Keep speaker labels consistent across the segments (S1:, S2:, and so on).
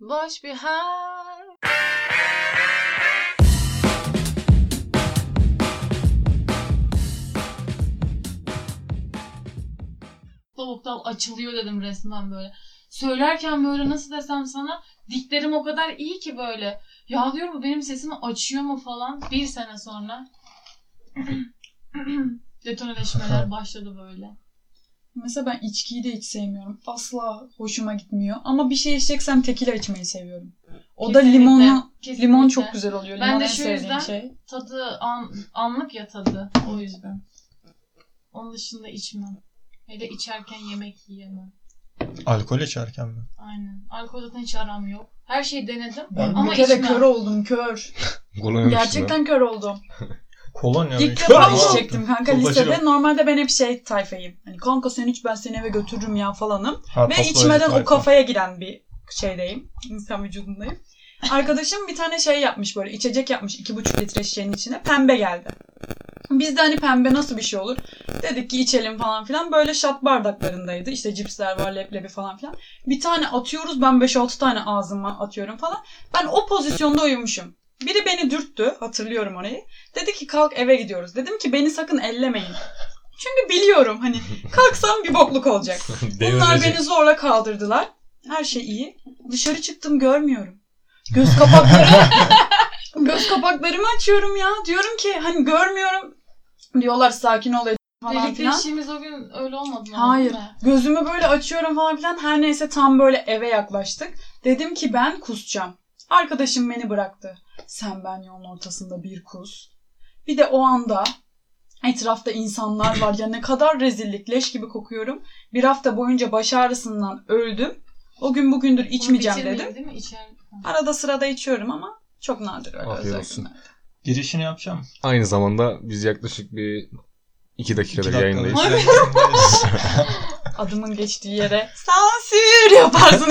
S1: Boş bir hal. Soğuktan açılıyor dedim resmen böyle. Söylerken böyle nasıl desem sana diklerim o kadar iyi ki böyle. Ya diyorum bu benim sesimi açıyor mu falan. Bir sene sonra detoneleşmeler başladı böyle.
S2: Mesela ben içkiyi de hiç sevmiyorum. Asla hoşuma gitmiyor. Ama bir şey içeceksem tekila içmeyi seviyorum. O da
S1: Kesinlikle,
S2: limonu,
S1: kesinlikle.
S2: limon çok güzel oluyor.
S1: Ben
S2: limon
S1: de
S2: en
S1: şu
S2: sevdiğim
S1: yüzden-
S2: şey.
S1: Tadı an, anlık ya tadı. O yüzden. Onun dışında içmem. Hele içerken yemek yiyemem.
S3: Alkol içerken mi?
S1: Aynen. Alkol zaten hiç aram yok. Her şeyi denedim.
S2: Ben
S1: Ama
S2: bir kere
S1: içmem.
S2: kör oldum kör.
S4: Kolonya
S2: Gerçekten kör oldum.
S3: Kolonya mı?
S2: İlk defa
S3: Kolonya.
S2: içecektim kanka
S3: Toplaşırım.
S2: lisede. Normalde ben hep şey tayfayım. Hani kanka sen iç ben seni eve götürürüm ya falanım.
S3: Ha,
S2: Ve
S3: toplayıcı
S2: içmeden o
S3: tayfa.
S2: kafaya giren bir şeydeyim. İnsan vücudundayım. Arkadaşım bir tane şey yapmış böyle içecek yapmış 2,5 litre şişenin içine pembe geldi. Biz de hani pembe nasıl bir şey olur? Dedik ki içelim falan filan. Böyle şat bardaklarındaydı. İşte cipsler var, leblebi falan filan. Bir tane atıyoruz. Ben 5-6 tane ağzıma atıyorum falan. Ben o pozisyonda uyumuşum. Biri beni dürttü. Hatırlıyorum orayı. Dedi ki kalk eve gidiyoruz. Dedim ki beni sakın ellemeyin. Çünkü biliyorum hani kalksam bir bokluk olacak. Bunlar
S4: Devrilecek.
S2: beni zorla kaldırdılar. Her şey iyi. Dışarı çıktım görmüyorum. Göz kapakları göz kapaklarımı açıyorum ya. Diyorum ki hani görmüyorum. Diyorlar sakin ol Ece falan
S1: Birlikte
S2: filan.
S1: içtiğimiz o gün öyle olmadı mı?
S2: Hayır.
S1: Değil mi?
S2: Gözümü böyle açıyorum falan filan. Her neyse tam böyle eve yaklaştık. Dedim ki ben kusacağım. Arkadaşım beni bıraktı. Sen ben yolun ortasında bir kus. Bir de o anda etrafta insanlar var ya ne kadar rezillik leş gibi kokuyorum. Bir hafta boyunca baş ağrısından öldüm. O gün bugündür
S1: Bunu
S2: içmeyeceğim
S1: bitirmeyin,
S2: dedim.
S1: Değil mi? İçer.
S2: Arada sırada içiyorum ama çok nadir öyle
S4: Afiyet
S2: özel
S4: olsun.
S2: günler.
S3: Girişini yapacağım.
S4: Aynı zamanda biz yaklaşık bir iki dakikada
S3: İki dakikada
S4: yayındayız.
S2: Ay.
S3: yayındayız.
S2: Adımın geçtiği yere sansür yaparsın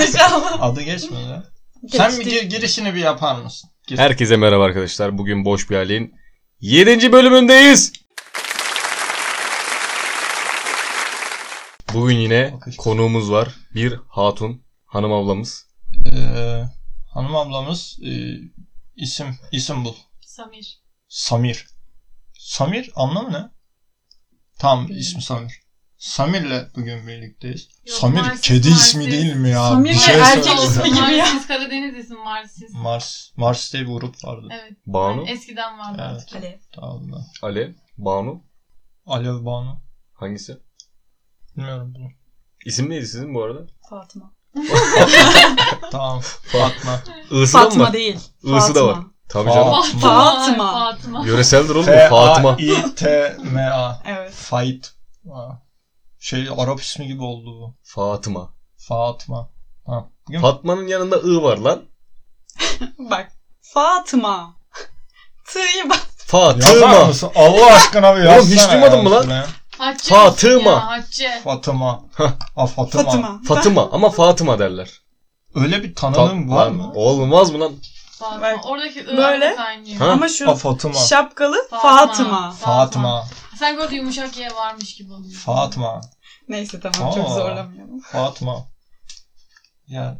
S2: inşallah.
S3: Adı geçmiyor ya. Sen bir
S2: Geçti.
S3: gir- girişini bir yapar mısın? Gir.
S4: Herkese merhaba arkadaşlar. Bugün Boş Bir Halin 7. bölümündeyiz. Bugün yine
S3: Alkış.
S4: konuğumuz var. Bir hatun, hanım ablamız.
S3: Ee, hanım ablamız e, isim isim bul.
S1: Samir.
S3: Samir. Samir anlamı ne? Tamam ismi Samir. Samir'le bugün birlikteyiz.
S1: Yok,
S3: Samir
S1: Marsis,
S3: kedi
S1: Marsis.
S3: ismi değil mi ya?
S2: Samir
S3: Bir
S2: de
S3: şey
S2: erkek
S3: söyleyeceğim.
S2: ismi gibi ya.
S1: Marsis, Karadeniz ismi Marsis.
S3: Mars. Mars diye bir grup vardı.
S1: Evet.
S4: Banu,
S1: Eskiden vardı
S3: Evet.
S1: artık.
S2: Alev.
S3: Tamam da.
S4: Ale, Banu.
S3: Alev Banu.
S4: Hangisi?
S3: Bilmiyorum bunu.
S4: İsim neydi sizin bu arada?
S2: Fatıma.
S3: Tamam. Fatma.
S4: I'sı da mı
S2: Fatma
S4: var?
S2: değil.
S4: I'sı da var.
S2: Fatma.
S4: Tabii canım.
S3: Fatma.
S2: Fatıma.
S1: Fatıma.
S4: Yöreseldir oğlum bu, Fatıma.
S3: F-A-I-T-M-A.
S2: Evet.
S3: Fight. Aa. Şey Arap ismi gibi oldu bu.
S4: Fatıma.
S3: Fatma. Ha. Bugün
S4: Fatma'nın yanında I var lan.
S2: Bak. Fatıma. T'yi bak.
S4: Fatıma.
S3: mısın? Allah aşkına bir
S4: Oğlum,
S3: yazsana.
S4: hiç duymadın mı lan?
S3: şuraya.
S1: Hacı
S4: Fatıma.
S1: mısın ya, Hacı.
S3: Fatıma. ha Fatıma.
S2: Fatıma.
S4: Fatıma ama Fatıma derler.
S3: Öyle bir tanıdığım
S4: Fatma.
S3: var mı?
S4: Olmaz mı lan?
S1: Fatıma.
S2: Bak,
S1: Oradaki
S2: böyle.
S1: ıhı kaynıyor.
S4: Ha?
S2: Ama şu
S3: Ha Fatıma.
S2: şapkalı Fatıma.
S3: Fatıma.
S1: Sen gördüğün yumuşak ye varmış gibi oluyor.
S3: Fatma.
S2: Neyse tamam çok
S3: Aa.
S2: zorlamayalım.
S3: Fatma. Yani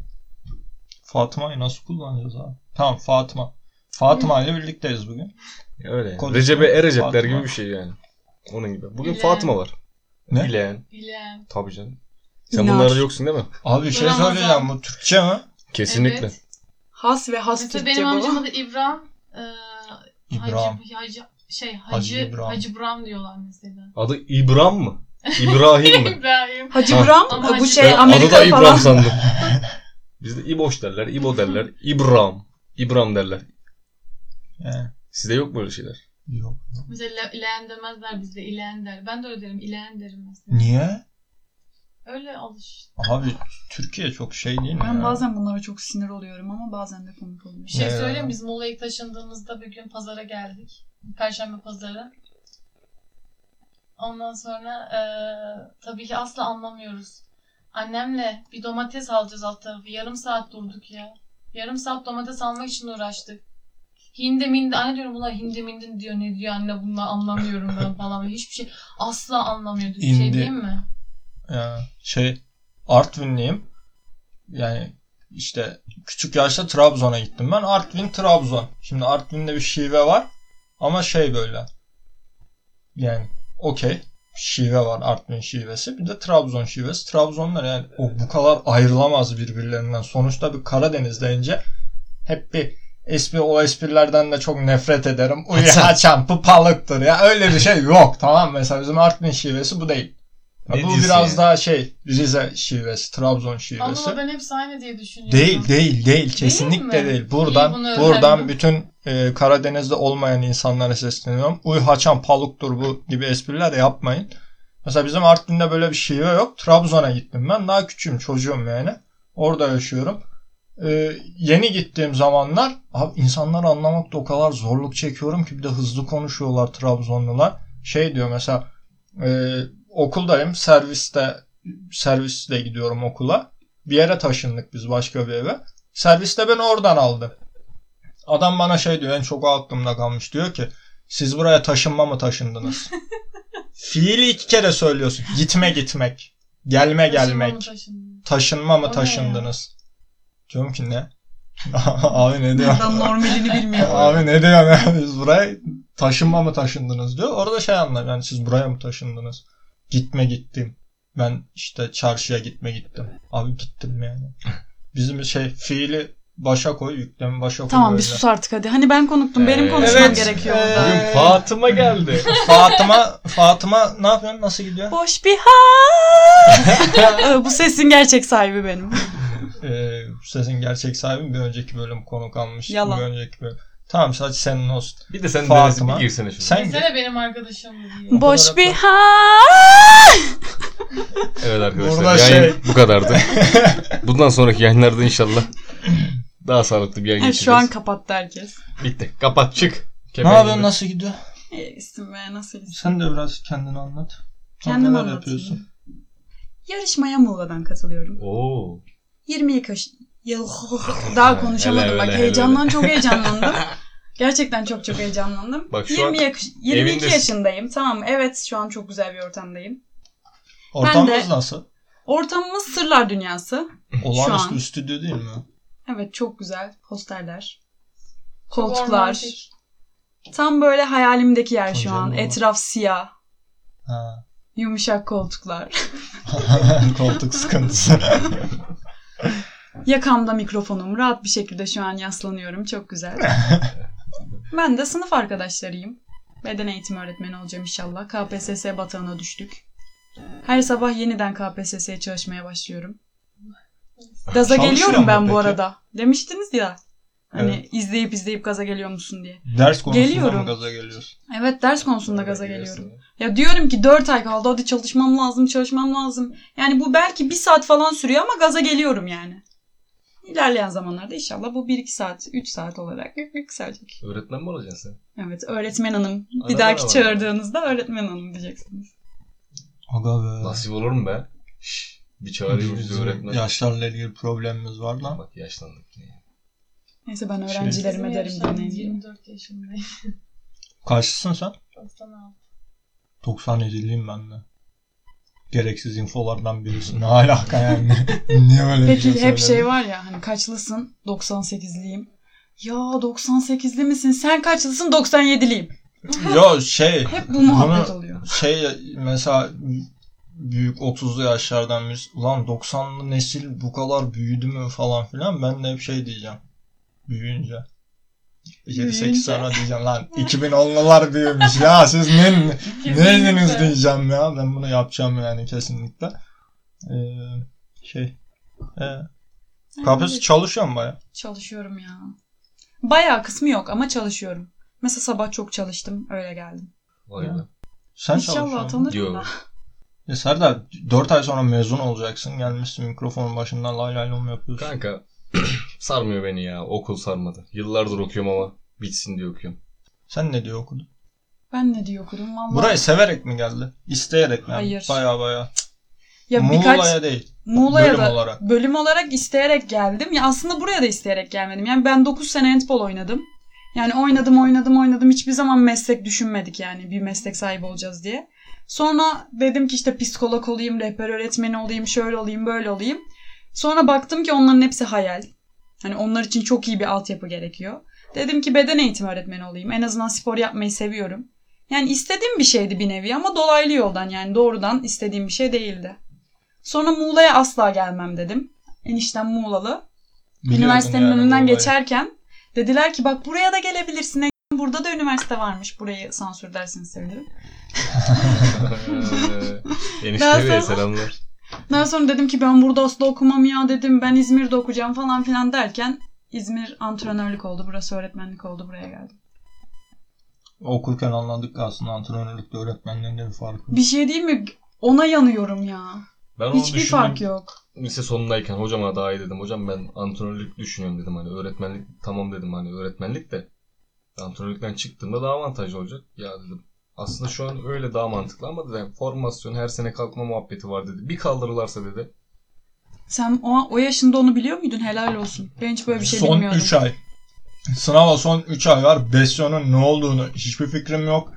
S3: Fatma'yı nasıl kullanacağız abi? Tamam Fatma. Fatma ile birlikteyiz bugün.
S4: Öyle.
S3: Konuşma.
S4: Recep'e Erecepler
S3: Fatıma.
S4: gibi bir şey yani. Onun gibi. Bugün
S1: Bilen.
S4: Fatıma var.
S3: Ne?
S4: Bilen.
S1: Bilen.
S4: Tabii canım. Sen
S2: İnar.
S4: bunlarda yoksun değil mi?
S3: Abi bir şey
S1: Ramazan.
S3: söyleyeceğim bu Türkçe mi?
S4: Kesinlikle.
S1: Evet.
S2: Has ve has
S1: Mesela
S2: Türkçe
S1: benim
S2: bu.
S1: amcamın adı İbrahim. Ee,
S3: İbrahim.
S1: Hacı, hacı, şey,
S3: Hacı
S1: hacı, hacı,
S3: İbrahim.
S1: İbrahim. diyorlar mesela.
S4: Adı İbrahim mı? İbrahim mi?
S1: İbrahim.
S2: Hacı
S4: Ha.
S1: Ama
S2: Buram bu
S1: Hacı
S2: şey
S4: Ben
S1: Buram.
S2: Amerika
S4: adı da İbrahim
S2: falan.
S4: sandım. Bizde İboş derler, İbo derler, İbrahim. İbrahim derler.
S3: Yani,
S4: Sizde yok mu öyle şeyler?
S3: yok.
S1: Mesela le- leğen demezler bizde ileğen der. Ben de öyle derim ileğen derim mesela.
S3: Niye?
S1: Öyle alış.
S3: Abi Türkiye çok şey değil mi
S2: Ben
S3: ya?
S2: bazen bunlara çok sinir oluyorum ama bazen de komik oluyor.
S1: Bir şey
S3: Ne?
S1: söyleyeyim mi? Biz Muğla'ya ilk taşındığımızda bir gün pazara geldik. Perşembe pazarı. Ondan sonra eee, tabii ki asla anlamıyoruz. Annemle bir domates alacağız alt tarafı. Yarım saat durduk ya. Yarım saat domates almak için uğraştık. Hindi mindi. Anne diyorum bunlar hindi mindi diyor. Ne diyor anne bunlar anlamıyorum ben falan. Hiçbir şey asla anlamıyorduk. Bir şey
S3: Hindi.
S1: değil mi?
S3: Yani şey Artvinliyim. Yani işte küçük yaşta Trabzon'a gittim ben. Artvin Trabzon. Şimdi Artvin'de bir şive var ama şey böyle yani okey şive var Artvin şivesi bir de Trabzon şivesi. Trabzonlar yani o bu kadar ayrılamaz birbirlerinden. Sonuçta bir Karadeniz deyince hep bir espri o esprilerden de çok nefret ederim. Uyu
S4: Haçan.
S3: haçan pupalıktır ya öyle bir şey yok tamam mesela bizim Artvin şivesi bu değil. Ya
S4: Ne
S3: bu
S4: diyorsun
S3: biraz
S4: ya?
S3: daha şey Rize şivesi, Trabzon şivesi.
S1: Ama ben hepsi aynı diye düşünüyorum.
S3: Değil değil değil kesinlikle
S1: mi?
S3: değil. Buradan
S1: bunu
S3: buradan
S1: öğrendim.
S3: bütün e, Karadeniz'de olmayan insanlara sesleniyorum. Uy haçan paluktur bu gibi espriler yapmayın. Mesela bizim Artvin'de böyle bir şive yok. Trabzon'a gittim ben. Daha küçüğüm çocuğum yani. Orada yaşıyorum. E, yeni gittiğim zamanlar abi insanları anlamakta o kadar zorluk çekiyorum ki bir de hızlı konuşuyorlar Trabzonlular. Şey diyor mesela e, okuldayım serviste servisle gidiyorum okula. Bir yere taşındık biz başka bir eve. Serviste beni oradan aldı. Adam bana şey diyor en çok o aklımda kalmış diyor ki siz buraya taşınma mı taşındınız? Fiili iki kere söylüyorsun. Gitme gitmek. Gelme
S1: Taşınma mı
S3: gelmek.
S1: taşınma?
S3: Taşınma
S1: O ne
S3: mı
S1: ya?
S3: taşındınız? Diyorum ki ne? Abi ne diyor?
S2: Adam normalini bilmiyor.
S3: Abi ne diyor ya biz buraya taşınma mı taşındınız diyor. Orada şey anlar yani siz buraya mı taşındınız? Gitme gittim. Ben işte çarşıya gitme gittim. Abi gittim yani. Bizim şey fiili başa koy, yüklemi başa koy.
S2: Tamam bir
S3: böyle.
S2: sus artık hadi. Hani ben konuktum. Benim
S4: Evet. Ee.
S2: konuşmam
S3: Evet,
S2: gerekiyor
S3: evet.
S2: burada.
S4: Bugün Fatıma geldi.
S3: Fatıma, Fatıma ne yapıyorsun? Nasıl gidiyor?
S2: Boş bir hal. Bu sesin gerçek sahibi benim.
S3: Ee, sesin gerçek sahibi bir önceki bölüm konuk almış.
S2: Yalan.
S3: Bir önceki bölüm. Tamam sadece senin olsun.
S4: Bir de sen
S3: Fatıma.
S4: Deniz'e bir girsene şunu.
S3: Sen
S1: Desene benim arkadaşım diye.
S2: Boş
S3: kadar
S2: bir
S3: haklı.
S2: hal.
S4: Evet arkadaşlar
S3: Burada
S4: yayın
S3: şey-
S4: bu kadardı. Bundan sonraki yayınlarda inşallah daha sağlıklı bir yayın
S2: Evet,
S4: geçireceğiz.
S2: şu an kapattı herkes.
S4: Bitti. Kapat çık.
S3: ne
S4: Kemer
S3: yapıyorsun?
S4: gibi.
S3: Nasıl gidiyor?
S2: E, isim ve nasıl isim?
S3: Sen de biraz kendini anlat.
S2: Kendim
S3: Neler
S2: anlatayım.
S3: yapıyorsun?
S2: Yarışmaya Muğla'dan katılıyorum.
S4: Oo.
S2: 20 Kaş... Yıl- Daha konuşamadım
S4: Hele,
S2: bak.
S4: hele,
S2: heyecandan çok heyecanlandım. Gerçekten çok çok heyecanlandım.
S4: Bak şu
S2: 20
S4: an
S2: yakış- 22
S4: evindesin.
S2: yaşındayım. Tamam evet şu an çok güzel bir ortamdayım.
S3: Ortamımız nasıl?
S2: Ortamımız sırlar dünyası. Şu an.
S3: Olağanüstü bir stüdyo değil mi?
S2: Evet çok güzel. Posterler.
S1: Çok
S2: Koltuklar.
S1: romantik.
S2: Tam böyle hayalimdeki yer şu
S3: Kocaman
S2: an.
S3: var.
S2: Etraf siyah.
S3: Ha.
S2: Yumuşak koltuklar.
S3: Koltuk sıkıntısı.
S2: Yakamda mikrofonum. Rahat bir şekilde şu an yaslanıyorum. Çok güzel. ben de sınıf arkadaşlarıyım. Beden eğitimi öğretmeni olacağım inşallah. KPSS batağına düştük. Her sabah yeniden KPSS'ye çalışmaya başlıyorum. Gaza
S3: Çalışıyor
S2: geliyorum
S3: mu
S2: ben bu
S3: peki?
S2: arada. Demiştiniz ya. Hani
S3: Evet.
S2: izleyip izleyip gaza geliyor musun diye.
S3: Ders konusunda
S2: Geliyorum.
S3: mı gaza geliyorsun?
S2: Evet ders konusunda gaza geliyorum. Ya diyorum ki 4 ay kaldı hadi çalışmam lazım çalışmam lazım. Yani bu belki 1 saat falan sürüyor ama gaza geliyorum yani. İlerleyen zamanlarda inşallah bu 1-2 saat 3 saat olarak yükselecek.
S4: Öğretmen mi olacaksın sen?
S2: Evet öğretmen hanım. Bir
S4: Arada
S2: dahaki
S4: var.
S2: çağırdığınızda öğretmen hanım diyeceksiniz.
S3: Aga be.
S4: Nasip olur mu be? Şşş. Bir çağırıyoruz bizi
S3: Bizim
S4: öğretmen.
S3: Yaşlarla ilgili problemimiz var lan.
S4: Bak yaşlandık. yine.
S2: Neyse ben
S3: Şey-
S2: öğrencilerime
S1: Bizim
S2: derim
S1: yaşlarımız
S2: dinleyin diye.
S1: 24 yaşındayım.
S3: Kaçlısın sen?
S1: 96.
S3: 97'liyim ben de. Gereksiz infolardan birisi. Ne alaka yani? Niye böyle bir
S2: Peki
S3: şey
S2: hep şey var ya hani kaçlısın? 98'liyim. Ya 98'li misin? Sen kaçlısın? 97'liyim.
S3: Yo şey.
S2: Hep bu muhabbet oluyor.
S3: Şey mesela büyük 30'lu yaşlardan birisi. Ulan 90'lı nesil bu kadar büyüdü mü falan filan. Ben de hep şey diyeceğim. Büyüyünce. 7-8
S2: Büyüyünce.
S3: sonra diyeceğim lan 2010'lular büyümüş ya siz ne, Ne
S1: Kesinlikle.
S3: dediniz diyeceğim ya. Ben bunu yapacağım yani kesinlikle. Ee, şey. E, KPSS çalışıyor mu baya?
S2: Çalışıyorum ya. Bayağı kısmı yok ama çalışıyorum. Mesela sabah çok çalıştım. Öyle geldim.
S4: Vay
S3: Ya.
S4: be.
S3: Sen
S2: İnşallah
S3: çalışıyorsun. mu?
S2: tanırım
S4: Yok.
S2: da.
S3: Ya Serdar 4 ay sonra mezun olacaksın. Gelmişsin mikrofonun başından lay lay lom yapıyorsun.
S4: Kanka sarmıyor beni ya. Okul sarmadı. Yıllardır okuyorum ama bitsin diye okuyorum.
S3: Sen ne diye okudun?
S2: Ben ne diye okudum valla.
S3: Burayı severek mi geldi? İsteyerek mi?
S2: Hayır.
S3: Baya baya.
S2: ya
S3: Muğla'ya
S2: birkaç
S3: değil.
S2: Muğla'ya
S3: bölüm
S2: da
S3: olarak.
S2: bölüm olarak isteyerek geldim. Ya aslında buraya da isteyerek gelmedim. Yani ben 9 sene handball oynadım. Yani oynadım oynadım oynadım. Hiçbir zaman meslek düşünmedik yani bir meslek sahibi olacağız diye. Sonra dedim ki işte psikolog olayım, rehber öğretmeni olayım, şöyle olayım, böyle olayım. Sonra baktım ki onların hepsi hayal. Hani onlar için çok iyi bir altyapı gerekiyor. Dedim ki beden eğitimi öğretmeni olayım. En azından spor yapmayı seviyorum. Yani istediğim bir şeydi bir nevi ama dolaylı yoldan yani doğrudan istediğim bir şey değildi. Sonra Muğla'ya asla gelmem dedim. Eniştem Muğlalı.
S3: Biliyordun
S2: Üniversitenin
S3: yani bu
S2: önünden
S3: olayı.
S2: geçerken dediler ki bak buraya da gelebilirsin. E, Burada da üniversite varmış. Burayı sansür dersiniz sevinirim. Daha
S4: Enişte
S2: sonra-
S4: Bey Ee, selamlar.
S2: Daha sonra dedim ki ben burada asla okumam ya dedim. Ben İzmir'de okuyacağım falan filan derken İzmir antrenörlük oldu. Burası öğretmenlik oldu. Buraya geldim.
S3: Okurken anladık aslında antrenörlükte öğretmenlerinde bir fark var.
S2: Bir şey değil mi? Ona yanıyorum ya.
S4: Ben onu
S2: Hiçbir
S4: düşündüm.
S2: fark yok.
S4: Lise sonundayken hocama daha iyi dedim. Hocam ben antrenörlük düşünüyorum dedim. Hani öğretmenlik tamam dedim. Hani öğretmenlik de antrenörlükten çıktığımda daha avantajlı olacak. Ya dedim. Aslında şu an öyle daha mantıklı ama dedim formasyon her sene kalkma muhabbeti var dedi. Bir kaldırırlarsa dedi.
S2: Sen o, o yaşında onu biliyor muydun? Helal olsun. Ben hiç böyle bir şey
S3: son
S2: bilmiyordum.
S3: 3 ay. Sınava son 3 ay var. Besyonun ne olduğunu hiçbir fikrim yok.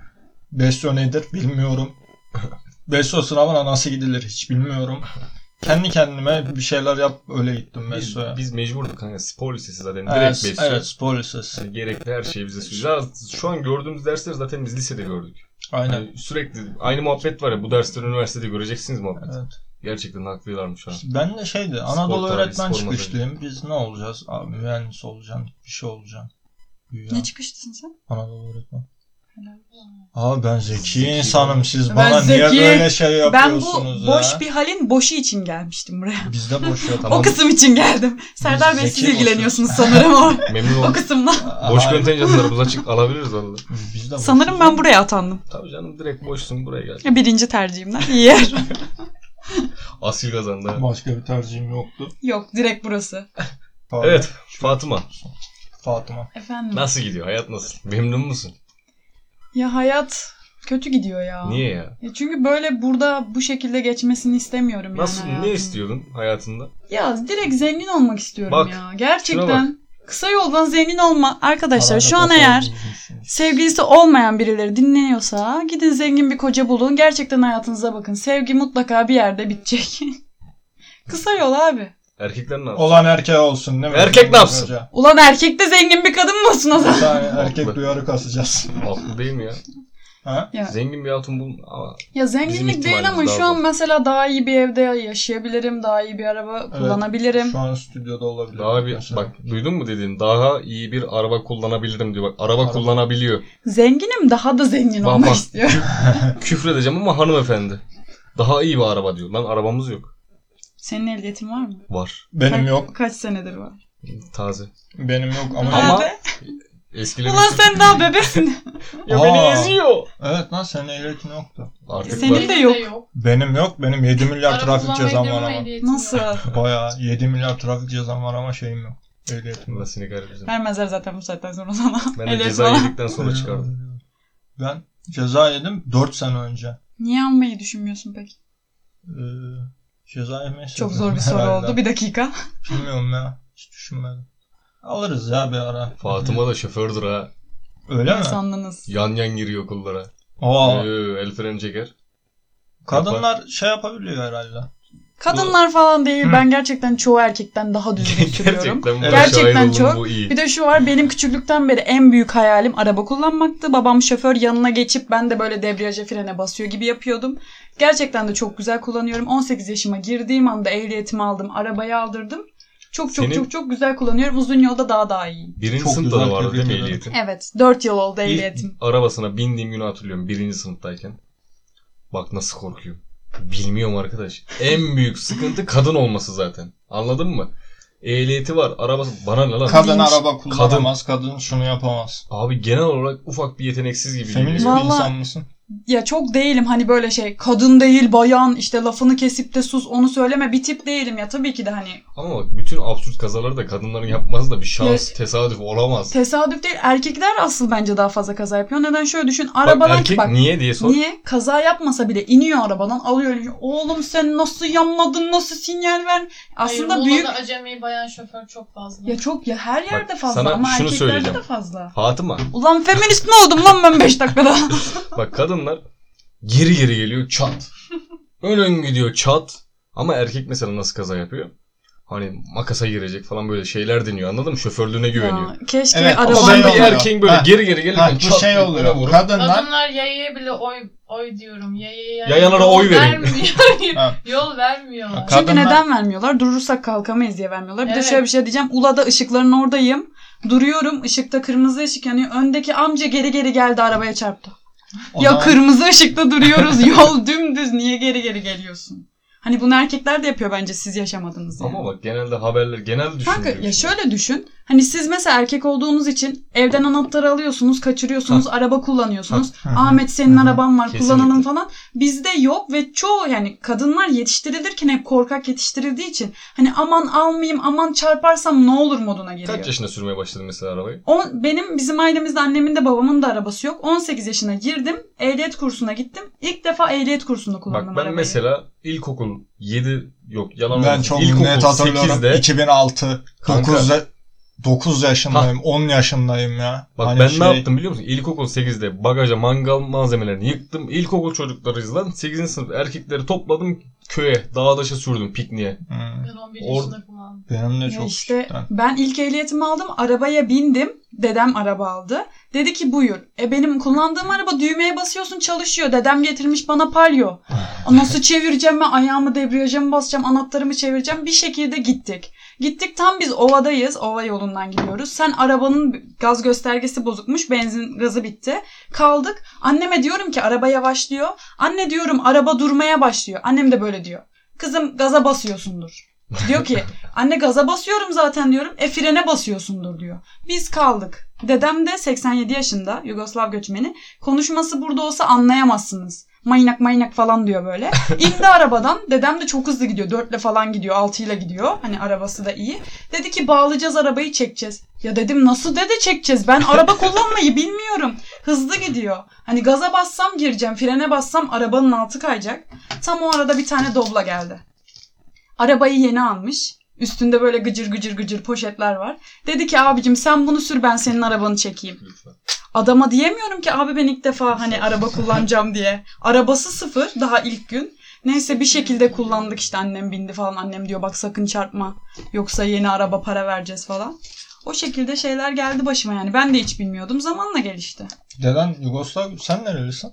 S3: Besyo nedir bilmiyorum. Besyo sınavına nasıl gidilir hiç bilmiyorum. Kendi kendime bir şeyler yap öyle gittim
S4: Biz,
S3: Besyo'ya.
S4: biz mecburduk hani spor lisesi zaten direkt
S3: Evet,
S4: besliyor.
S3: evet spor lisesi.
S4: Yani gerekli her şeyi bize söylüyor. Şu an gördüğümüz dersleri zaten biz lisede gördük.
S3: Aynen.
S4: Yani sürekli aynı muhabbet var ya bu dersleri üniversitede göreceksiniz muhabbet.
S3: Evet.
S4: Gerçekten haklılarmış şu an.
S3: Ben de şeydi Anadolu
S4: tarihi,
S3: öğretmen
S4: spor modeli.
S3: çıkışlıyım. Biz ne olacağız? Abi, mühendis olacaksın. Bir şey olacaksın. Güya.
S2: Ne çıkıştın sen?
S3: Anadolu öğretmen.
S2: Helal
S3: Abi ben zeki,
S4: Zeki.
S3: insanım. Siz
S2: Ben
S3: bana niye
S2: zeki.
S3: böyle şey
S2: Ben
S3: yapıyorsunuz
S2: bu
S3: ya?
S2: boş bir halin boşu için gelmiştim buraya.
S3: Biz de boş yok.
S4: Tamam.
S2: O kısım için geldim. Serdar Bey siz
S3: Zeki
S2: ilgileniyorsunuz sanırım o,
S4: Memnun
S2: o
S4: oldum.
S2: kısımla.
S4: Boş
S3: Hayır,
S4: kontenjanlarımız açık alabiliriz valla.
S3: Biz de boş
S2: Sanırım ben buraya atandım.
S4: Tabii canım direkt boşsun buraya gel.
S2: Birinci tercihimden. İyi yer.
S4: Asil kazandı. ha.
S3: Başka bir tercihim yoktu.
S2: Yok direkt burası.
S3: Tabii.
S4: Evet Fatıma
S3: Fatıma.
S2: Efendim.
S4: nasıl gidiyor hayat nasıl? Memnun musun?
S2: Ya hayat kötü gidiyor ya.
S4: Niye ya?
S2: Ya çünkü böyle burada bu şekilde geçmesini istemiyorum yani
S4: Nasıl ne
S2: hayatımın.
S4: istiyordun hayatında?
S2: Ya direkt zengin olmak istiyorum
S4: Bak,
S2: ya.
S4: şuna
S2: Gerçekten. Kısa yoldan zengin olma. Arkadaşlar şu an
S3: Arada
S2: eğer
S3: kafa bulmuşsunuz.
S2: Sevgilisi olmayan birileri dinleniyorsa gidin zengin bir koca bulun. Gerçekten hayatınıza bakın. Sevgi mutlaka bir yerde bitecek. Kısa yol abi.
S4: Erkekler ne yaptı?
S3: Olan erkeğe olsun değil mi?
S4: Erkek ne yapsın?
S3: Hoca.
S2: Ulan erkek de zengin bir kadın mı olsun o
S3: Bir
S2: zaman?
S3: tane erkek duyarı kasacağız.
S4: Haklı değil mi ya?
S3: Ha?
S2: Ya.
S4: Zengin bir hatun bul ama
S2: Ya
S4: Bizim
S2: zenginlik
S4: ihtimalimiz
S2: değil ama
S4: daha
S2: şu an
S4: fazla.
S2: mesela daha iyi bir evde yaşayabilirim. Daha iyi bir araba kullanabilirim.
S3: Şu an stüdyoda olabilir.
S4: daha bir
S3: Mesela.
S4: bak duydun mu dediğin daha iyi bir araba kullanabilirim diyor. Bak araba,
S3: Araba.
S4: kullanabiliyor.
S2: Zenginim daha da zengin
S4: Bak,
S2: olmak
S4: bak.
S2: istiyor.
S4: Küfredeceğim ama hanımefendi. Daha iyi bir araba diyor. Lan arabamız yok.
S2: Senin ehliyetin var mı?
S4: Var.
S3: Benim yok.
S2: Kaç senedir var?
S4: Taze.
S3: Benim yok ama...
S4: Ama-
S2: Abi.
S4: Eskileri
S2: Ulan sen daha bebesin.
S4: Ya beni
S3: Aa.
S4: eziyor.
S3: Evet lan senin ehliyetin yoktu.
S4: Artık
S2: Senin
S4: var.
S2: de yok.
S3: Benim yok. Benim 7 milyar
S1: Araba
S3: trafik
S1: kullanma
S3: cezam var
S1: ehliyetimi
S3: ama.
S1: ehliyetim yok.
S2: Nasıl?
S3: Bayağı 7 milyar trafik cezam var ama şeyim yok. Ehliyetim
S4: Allah
S3: yok.
S4: seni kahretsin.
S2: Vermezler zaten bu saatten sonra sana.
S4: Ben de
S2: Ehliyet
S4: ceza
S2: falan.
S4: yedikten sonra çıkardım.
S3: Ben ceza yedim 4 sene önce.
S2: Niye almayı düşünmüyorsun peki?
S3: Ee, ceza yemeyi
S2: Çok
S3: sevdim
S2: zor bir soru
S3: herhalde.
S2: oldu. Bir dakika.
S3: Bilmiyorum ya. Hiç düşünmedim. Alırız ya bir ara.
S4: Fatıma da şofördür ha.
S3: Öyle mi?
S2: İnsanlığınız.
S4: Yan yan giriyor okullara.
S3: Oo,
S4: Ee, el freni çeker.
S3: kadınlar şey yapabiliyor herhalde.
S2: Kadınlar falan değil.
S3: Hı.
S2: Ben gerçekten çoğu erkekten daha düzgün sürüyorum.
S4: Gerçekten, buna
S2: Gerçekten
S4: şahit oldum,
S2: çok.
S4: Bu iyi.
S2: Bir de şu var benim küçüklükten beri en büyük hayalim araba kullanmaktı. Babam şoför yanına geçip ben de böyle debriyaja frene basıyor gibi yapıyordum. Gerçekten de çok güzel kullanıyorum. 18 yaşıma girdiğim anda ehliyetimi aldım. Arabayı aldırdım. Çok çok
S4: Senin-
S2: çok çok güzel kullanıyorum. Uzun yolda daha daha iyiyim.
S4: Birinci
S3: Çok
S4: sınıfta
S3: güzel
S4: da vardı değil mi
S3: tebrik
S4: ehliyetin?
S2: Evet 4 yıl oldu
S4: İlk
S2: ehliyetim.
S4: arabasına bindiğim günü hatırlıyorum birinci sınıftayken. Bak nasıl korkuyorum. Bilmiyorum arkadaş. En büyük sıkıntı kadın olması zaten. Anladın mı? Ehliyeti var. Arabası bana ne lan?
S3: Kadın
S2: Neymiş?
S3: araba kullanamaz, kadın, şunu yapamaz.
S4: Abi genel olarak ufak bir yeteneksiz gibi
S3: Feminist
S4: geliyor.
S3: bir
S2: Vallahi-
S3: insan mısın?
S2: ya çok değilim hani böyle şey kadın değil bayan işte lafını kesip de sus onu söyleme bir tip değilim ya tabii ki de hani
S4: Ama bak bütün absürt kazaları da kadınların yapması da bir şans,
S2: Ya-
S4: tesadüf olamaz.
S2: tesadüf değil erkekler asıl bence daha fazla kaza yapıyor. Neden şöyle düşün
S4: bak
S2: arabadan
S4: erkek
S2: bak,
S4: niye diye sor.
S2: niye kaza yapmasa bile iniyor arabadan alıyor elini. oğlum sen nasıl yanmadın nasıl sinyal ver aslında
S1: Hayır,
S2: büyük
S1: Muğla'da acemi bayan şoför çok fazla.
S2: ya çok ya her yerde fazla
S4: sana
S2: ama
S4: şunu
S2: erkeklerde de
S4: söyleyeceğim.
S2: fazla.
S4: Fatıma
S2: Ulan feminist mi oldum lan ben 5 dakikada?
S4: Bak kadınlar geri geri geliyor çat. Ön ön gidiyor çat. Ama erkek mesela nasıl kaza yapıyor? Hani makasa girecek falan böyle şeyler deniyor anladın mı? Şoförlüğüne güveniyor.
S2: Ya, keşke
S3: Evet,
S2: araba
S3: Adam
S4: Ama sen bir
S3: Şey oluyor.
S4: erkeğin böyle
S3: Ha.
S4: geri geri gelirken
S3: Ha, bu
S4: çat
S3: şey
S4: diye
S3: oluyor.
S4: vurup-
S3: Kadınlar
S1: Kadınlar yayaya bile oy oy diyorum. Yayaya
S4: Yayalara
S1: yol
S4: oy verin.
S3: Ha.
S1: Vermiyor. yol vermiyorlar.
S3: Ka-
S2: Çünkü
S3: Kadınlar-
S2: neden vermiyorlar? Durursak kalkamayız diye vermiyorlar. Bir
S1: Evet.
S2: de şöyle bir şey diyeceğim. Ula'da ışıkların oradayım. Duruyorum. Işıkta kırmızı ışık yanıyor. Öndeki amca geri geri geldi arabaya çarptı.
S3: o
S2: ya
S3: zaman-
S2: kırmızı ışıkta duruyoruz. Yol dümdüz. Niye geri geri geliyorsun? Hani bunu erkekler de yapıyor bence. Siz yaşamadınız yani.
S4: Ama bak genelde haberler genel düşünüyor.
S2: Kanka ya şöyle düşün. Hani siz mesela erkek olduğunuz için evden anahtarı alıyorsunuz, kaçırıyorsunuz, araba kullanıyorsunuz.
S3: Hı hı.
S2: Ahmet senin
S3: Hı hı.
S2: araban var,
S4: Kesinlikle.
S2: kullanalım falan. Bizde yok ve çoğu yani kadınlar yetiştirilirken hep korkak yetiştirildiği için hani aman almayayım, aman çarparsam ne olur moduna
S4: Kaç
S2: geliyor.
S4: yaşında sürmeye başladın mesela arabayı?
S2: On, benim bizim ailemizde annemin de babamın da arabası yok. 18 yaşına girdim. Ehliyet kursuna gittim. İlk defa ehliyet kursunda
S4: Bak
S2: kullandım
S4: ben
S2: arabayı.
S4: mesela ilkokul 7 yok yalan
S3: Ben
S4: olmasın.
S3: çok
S4: İlkokul
S3: net hatırlıyorum.
S4: 8'de
S3: 2006,
S4: Kanka.
S3: 9, 9 yaşındayım, 10 yaşındayım ya.
S4: Bak
S3: Hani
S4: ben
S3: şey-
S4: ne yaptım biliyor musun? İlkokul 8'de bagaja mangal malzemelerini yıktım. İlkokul çocuklarıyız lan. 8. sınıf erkekleri topladım köye, dağdaşa sürdüm pikniğe.
S3: Hı.
S1: Ben 11
S4: Or-
S1: yaşında kullandım.
S3: Benim de
S2: Ya
S3: çok
S2: işte
S3: küçükten.
S2: ben ilk ehliyetimi aldım. Arabaya bindim. Dedem araba aldı. Dedi ki buyur. E benim kullandığım araba düğmeye basıyorsun çalışıyor. Dedem getirmiş bana palyo. Nasıl çevireceğim ben ayağımı debriyaja mı basacağım anahtarımı çevireceğim. Bir şekilde gittik. Gittik tam biz ovadayız. Ova yolundan gidiyoruz. Sen arabanın gaz göstergesi bozukmuş. Benzin gazı bitti. Kaldık. Anneme diyorum ki araba yavaşlıyor. Anne diyorum araba durmaya başlıyor. Annem de böyle diyor. Kızım gaza basıyorsundur. Diyor ki Anne gaza basıyorum zaten diyorum. E frene basıyorsundur diyor. Biz kaldık. Dedem de 87 yaşında Yugoslav göçmeni. Konuşması burada olsa anlayamazsınız. Maynak maynak falan diyor böyle. İndi arabadan. Dedem de çok hızlı gidiyor. Dörtle falan gidiyor. Altıyla gidiyor. Hani arabası da iyi. Dedi ki bağlayacağız arabayı çekeceğiz. Ya dedim nasıl dede çekeceğiz? Ben araba kullanmayı bilmiyorum. Hızlı gidiyor. Hani gaza bassam gireceğim. Frene bassam arabanın altı kayacak. Tam o arada bir tane dobla geldi. Arabayı yeni almış. Üstünde böyle gıcır gıcır gıcır poşetler var. Dedi ki abicim sen bunu sür ben senin arabanı çekeyim.
S4: Lütfen.
S2: Adama diyemiyorum ki abi ben ilk defa hani araba kullanacağım diye. Arabası sıfır daha ilk gün. Neyse bir şekilde kullandık işte annem bindi falan. Annem diyor bak sakın çarpma yoksa yeni araba para vereceğiz falan. O şekilde şeyler geldi başıma yani. Ben de hiç bilmiyordum. Zamanla gelişti.
S3: Deden Yugoslav, sen nerelisin?